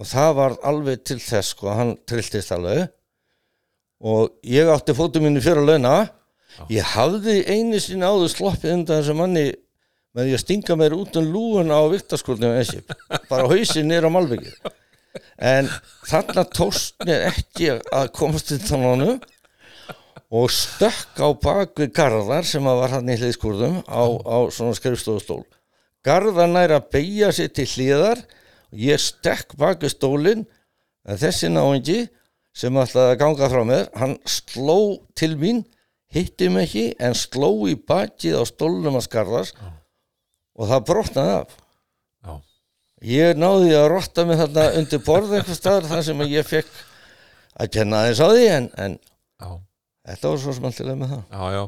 og það var alveg til þess sko, hann trilltist alveg og ég átti fótum mínu fyrir að launa ég hafði einu sinni áður sloppið undan þessu manni með því að stinga mér út um lúuna á viktaskólni og esip, bara hausinn niður á Malbyggju en þarna tóst mér ekki að komast undan honum og stökk á bak við garðar sem að var hann í hliðskúrðum á, á svona skrifstofustól garðar nær að beigja sér til hliðar ég stökk bak við stólinn en þessi náingi sem ætlaði að ganga frá mér hann sló til mín hittum ekki en sló í bakið á stólnum að skarðars og það brotnaði af
já.
Ég náði að rotta mig þarna undir borð eitthvað staðar þar sem að ég fekk að kenna aðeins á því en, en
Já,
þetta var svo smaltilega með það.
já, já.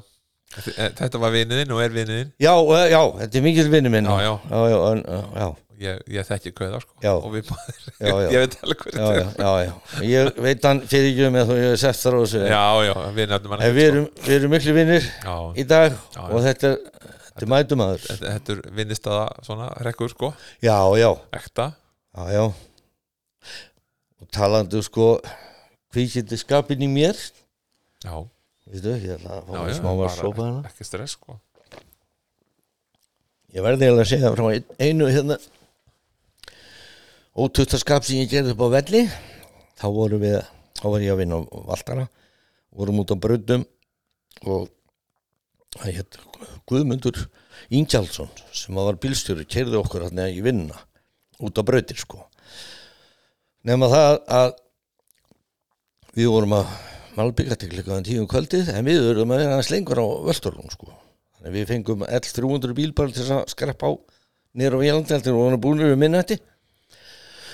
Þi- eh, Þetta var vinniðinn og er vinniðinn.
Já, eh, já, þetta er mikil vinnu minn.
Já, já.
Já, já, en, eh, já,
Ég, ég þekki kauða, sko.
Já.
Og við báðir.
Já, já.
Ég veit alveg hvernig
já, já, já, já. Ég veit hann fyrir ekki um að þú hefur sett þar á þessu.
Já, já, við nefnum hann
En við erum, við erum miklu vinnir
Já,
í dag
Já, já.
og þetta er, þetta er mætumadur.
þetta þetta er vinnistaða svona rekkur, sko.
Já, já,
Ekta.
Já, já. Og talandi um, sko kvíkindi skapin í mér,
Já,
veistu, ég ætla að fá
já,
mér
já.
smá að
bara
sopa hérna. hana.
Ekki stress, sko.
Ég verði eiginlega að segja frá ein- einu hérna ótuttaskap sem ég gerði upp á velli. Þá vorum við, þá var ég að vinna á Valdara, vorum út á Bröndum og hann hétt Guðmundur Ingjaldsson sem var bílstjóri, kerði okkur hann í vinna út á Bröndir sko. Nefna það að við vorum að malbygga til klukkaðan tíum kvöldið en við vorum að vera aðeins lengur á Völdurlun sko. Þannig að við fengum L300 bíl bara til þess að skreppa á nýra á Jælandeldir og hann er búinur við minnætti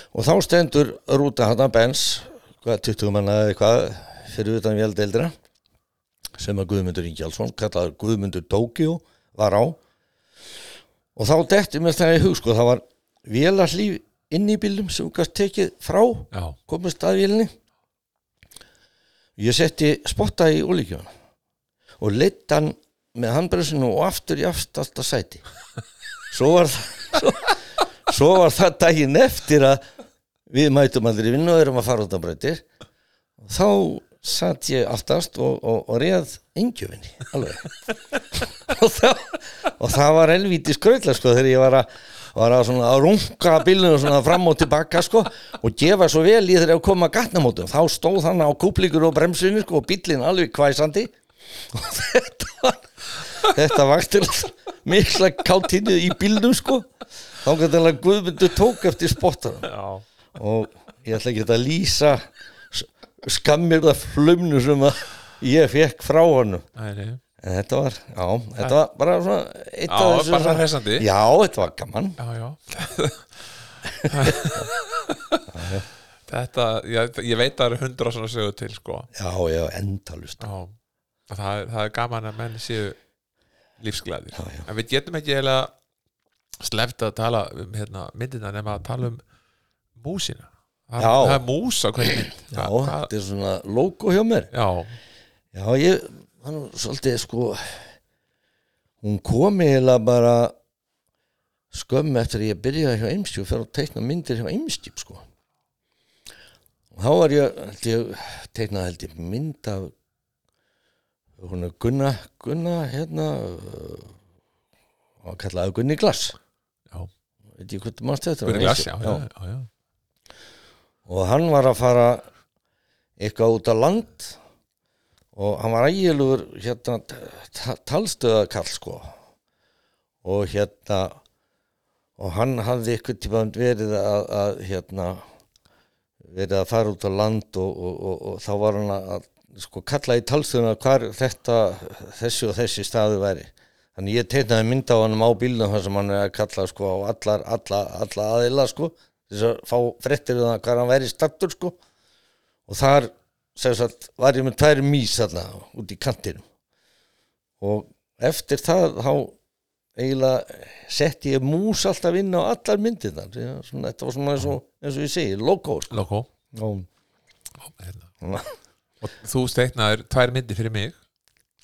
og þá stendur rúta hann að Benz hvað 20 manna eða eitthvað fyrir utan Jælandeldra sem að Guðmundur Ingjaldsson kallaður Guðmundur Tókjó var á og þá detti mér það í hug sko það var vélarlíf inn í bílum sem gæst tekið frá
Já,
komist að vélinni Ég setti spotta í ólíkjóna og leitt hann með handbremsinu og aftur í aftasta sæti. Svo var, það- svo, svo var það daginn eftir að við mætum aldrei í vinnu og erum að fara út á breytir. Þá satt ég aftast og, og, og reið yngjöfinni, alveg. og, það, og það var elvíti skrautla sko þegar ég var að var að svona að runga bílunum svona fram og tilbaka sko og gefa svo vel í þegar að koma að gatnamótum þá stóð hann á kúplíkur og bremsinu sko og bílinn alveg kvæsandi og þetta var þetta vaktir mikla káttínu í bílnum sko þá gæti alveg Guðmundur tók eftir spottarum
Já.
og ég ætla ekki að lýsa skammirða flumnu sem að ég fekk frá honum
Það er
En Eh, þetta var, já, þetta var bara svona eitt
Já,
af þessu
bara
svona-
hressandi.
Já, þetta var gaman
Já, já Þetta, ég, ég veit að það eru hundra svona sögur til, sko
Já, já, endalust
Já, Og það, er- það er gaman að menn séu lífsglæðir
Já, já.
En við getum ekki eiginlega sleft að tala um hérna, myndina nema að tala um músina Það,
Já.
það er mús á hverju mynd
Já,
það, það,
þetta er svona logo hjá mér
já,
Já, ég, hann er svolítið sko Hún kom eiginlega bara skömmu eftir að ég byrjaði hjá Eimskip fyrir að teikna myndir hjá Eimskip sko og þá var ég, held ég teiknaði held ég mynd af hún er Gunna Gunna hérna og kallaði Gunni Glass
já
veit ég hvernig mannst þetta
Gunni Glass, já, já, já, já.
og hann var að fara eitthvað út á land og hann var ægilegur hérna ta- talstöðakall sko og hérna og hann hafði eitthvað tíma verið að, að hérna verið að fara út á land og, og, og, og þá var hann að sko kalla í talstöðuna hvar þetta þessi og þessi staðu væri þannig ég teiknaði mynd á hann á bílnum þar sem hann er að kalla sko á allar, alla, alla aðila sko þess að fá frettir um það hvað hann væri stattur sko og þar sem sagt var ég með tvær mís þarna út í kantinum og eftir það þá eiginlega setti ég mús alltaf inn á allar myndir þar þetta var svona eins og, eins og ég segi, logo sko.
Logo
Já,
hérna.
Svona.
Og þú steiknaðir tvær myndir fyrir mig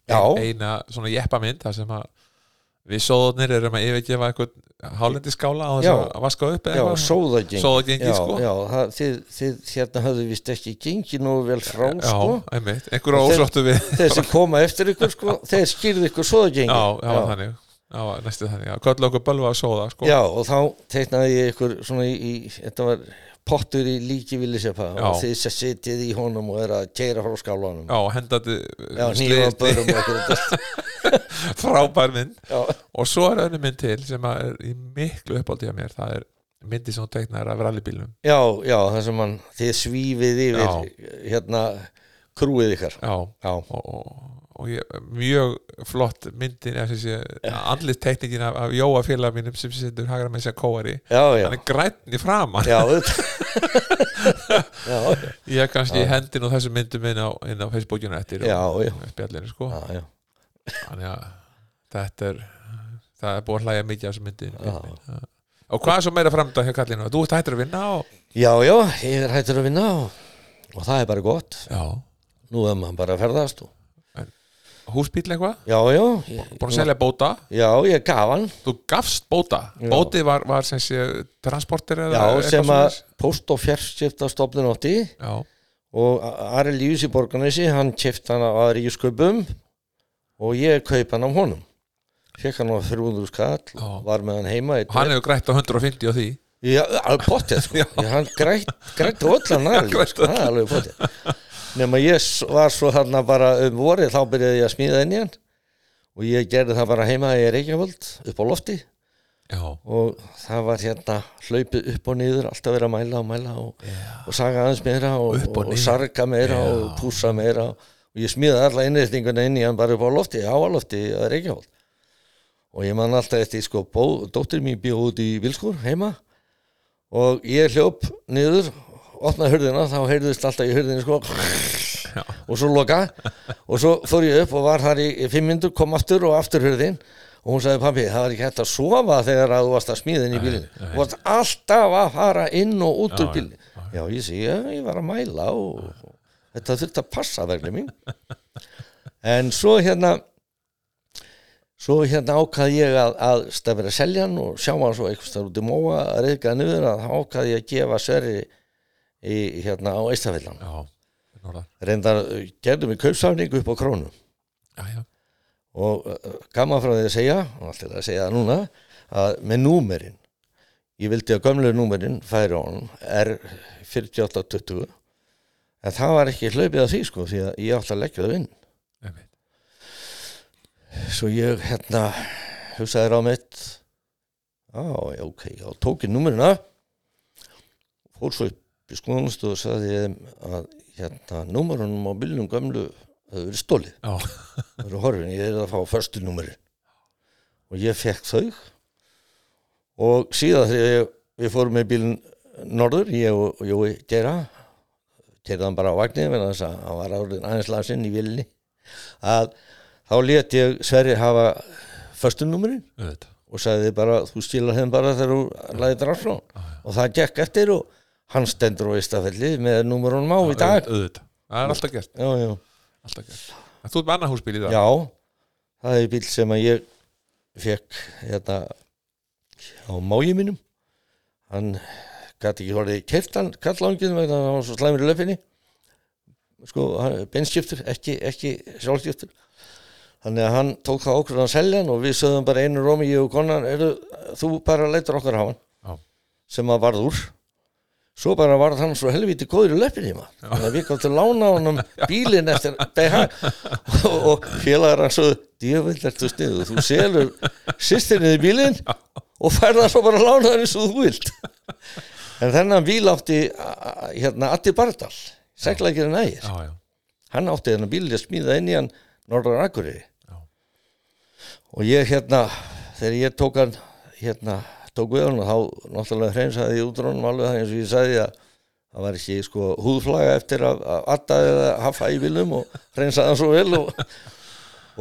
Já,
eina svona jeppamynd þar sem að við sóðunir erum að yfirgefa eitthvað hálendiskála á þess
Já.
að vaska upp
já, sóðagengi
Sóðagengi,
já,
sko.
já, það, þið, þið hérna höfðu vist ekki gengi nógu vel frá
já,
sko.
einmitt, einhverju
Og þeir-
ósáttu við já,
þeir sem koma eftir ykkur sko, þeir skýrðu ykkur sóðagengi
það var þannig já, næstu þannig, já, kvöld okkur bölva að sóða sko.
Já, og þá teiknaði ég ykkur svona í, í þetta var pottur í líki villisjöpa
Já.
og þið sem sitjið í honum og er að keira frá skálanum
já hendandi
Já, nýjum að börum og okkur þetta.
frábær mynd
Já,
og svo er önnu mynd til sem að er í miklu uppáldi að mér, það er myndi sem hún teiknaðir af rallybílnum
já, já, það sem hann, þið svífið yfir hérna krúið ykkar
já, og,
Já,
og, og ég, mjög flott myndin andlið teikningin af, af Jóa félag mínum sem sittur hagra með sér kóari
já, já
hann er grænn í framan
Já, þetta Já, já,
ég kannski hendi nú þessu myndum inn á, inn á Facebookinu eftir
já,
og
já,
spjallinu sko
já, já.
þannig að þetta er það er búið að hlæja mikið af þessu myndin
Já.
og hvað er svo meira framdá hjá kallinu þú ert hættur að vinna og
Já, já, ég er hættur að vinna og, og það er bara gott.
já.
Nú er maður bara að ferðast og
húsbíl eitthvað,
Já, já, ég,
búin að selja bóta
já, ég gaf hann
þú gafst bóta
Já.
bóti var, var sem sé transporter eða
Já,
eitthvað
sem að
svoleiðis?
post- og fjarskiptastofnun átti
já,
og A- Ari Líus í Borgarnesi, hann keft hann á aðri í sköpum og ég kaup hann á honum. Fekk hann á 300 skall,
Já.
var með hann heima. Eitt,
Og hann hefur grætt á 150 á því
Já, alveg potið, sko. Já, hann grætt, grætt allan Ari Líus,
Græddi
sko, það er alveg potið. Nefn að ég s- var svo þarna bara um vorið, þá byrjaði ég að smíða inn í hann og ég gerði það bara heima í Reykjavöld upp á lofti
já,
og það var hérna hlaupið upp og niður, alltaf verið að mæla og mæla og, og saga aðeins meira og,
Upp og
og,
niður.
sarga meira
Já.
og pússa meira og, og ég smíði alla innrýtninguna inn í hann bara upp á lofti, á að lofti að Reykjavík og ég man alltaf eftir sko bó, dóttir mín bíó út í Vilskur heima og ég hljóp niður opnaði hurðina, þá heyrðist alltaf í hurðinu sko og svo loka og svo fór ég upp og var þar í, í fimm myndur, kom aftur og aftur hurðin og hún sagði pabbi, það var ekki hægt að sofa þegar að þú varst að smíða inn í bílinu þú varst alltaf að fara inn og út úr bílinu já, ég sé, ég, ég var að mæla og, og þetta þurfti að passa vegna mín en svo hérna svo hérna ákvað ég að, að stað verið að selja hann og sjá hann svo einhvers þar út í móa að reyðga niður að þá ákvað ég að gefa sverri í, hérna á Eistafillan
já, norðar
reyndar eh, gerðum við kaupsafningu upp á krónu
já, já,
og eh, gaman frá því að segja og allt er að segja það núna að með númerin ég vildi að gömlu númerin færi á honum R4820 en það var ekki hlaupið að því sko því að ég átti að leggja það inn
einmitt.
svo ég hérna hugsaði ráð mitt á, já, ok, já, tók ég númerina fór svo upp í skoðanstu og sagði þeim að hérna, númerunum á bílnum gömlu hefur verið stólið,
já,
það eru horfin ég er að fá förstu númerin og ég fekk þau og síðan þegar ég, við fórum með bílinn norður, ég og og Jói Geira gerði hann bara á vagnir menn þess að hann var árið aðeins lasinn í vilni að þá let ég Sverri hafa föstunúmerin
auðvitað
og sagði bara þú skilar þeim bara þegar þú lagði drafn og það gekk eftir og hann stendur á Ístafelli með númerunum á í dag
auðvitað, það er alltaf gert,
já, já.
alltaf gert. En þú ert með annað húsbíl í dag
já, það er bíl sem að ég fekk hérna á mági mínum hann gæti ekki horfið kertan kallangin vegna hann var svo slæmur í löfinni sko, hann- beinskiptur ekki, ekki sjálfskiptur þannig að hann tók það okkur að selja hann og við sögðum bara einu rómi ég og konan eru, þú bara leitur okkar hafa hann
Já.
sem að varð úr svo bara varð hann svo helviti góður í löppinni maður þannig að við gáttum lána honum bílinn eftir BH og, og félagar hann svo djöfell ertu sniðu, þú selur sýstinni í bílinn og færða svo bara lána hann eins og þú vilt en þennan bíl átti a- a- hérna Atti Bardal seglækirinn ægir,
já, já,
hann átti þennan bíl að smíða inn í hann norðar Akureyri
já,
og ég hérna þegar ég tók hann hérna tók við hann og þá náttúrulega hreinsaði ég útrónum alveg það eins og ég sagði að það var ekki sko húðflaga eftir að, að atta eða hafa í viljum og hreinsaði hann svo vel og,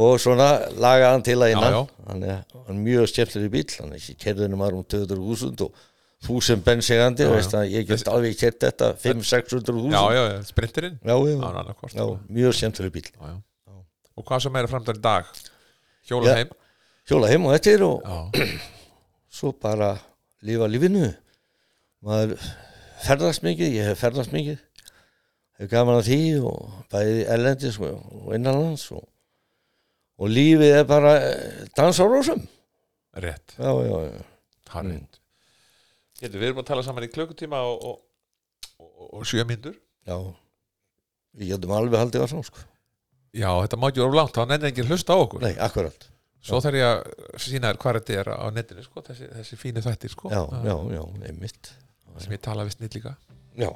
og svona lagaði hann til að innan
Já,
hann er hann er mjög skemmtileg bíl hann er ekki kerðunum aðrum 200.000 og þúsund bensegandi
Já, já.
veist að ég get alveg kert þetta 5-600.000
já, já, já. sprinterinn
já, já,
Já,
já,
annað hvort.
já, mjög skemmtileg bíl
Já, já. og hvað sem er að framdæra í dag hjóla
Já.
heim
hjóla heim og þetta er og,
já,
svo bara lifa lífinu maður ferðast mikið ég hef ferðast mikið hef gaman að því og bæði erlendis og og innanlands og, og lífið er bara eh, dans á rósum
rétt,
já, já, já.
það
Mm.
er rétt Hérna, við erum að tala saman í klukkutíma og, og, og, og sjö myndur
já við getum alveg haldið að svona sko.
já, þetta má ekki vera of langt, þá nennir enginn hlusta á okkur
nei, akkurat
svo þarf ég að sína þér hvað þetta er á netinu, sko, þessi, þessi fínu þættir sko,
já,
að-
já, já, einmitt
sem ég tala við snill líka
já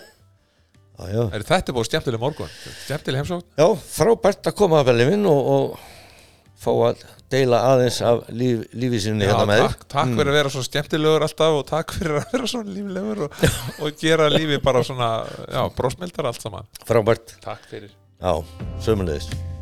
já, já
er þetta búið skemmtileg morgun, skemmtileg heimsókn
Já, frábært að koma að velja minn og, og fá að deila aðeins af líf, lífi sinni hérna með þér.
takk, takk fyrir að vera svo skemmtilegur alltaf og takk fyrir að vera svona líflegur og, og gera lífi bara svona já, brosmeldar allt saman
Frábært,
takk fyrir
já, sömulegist.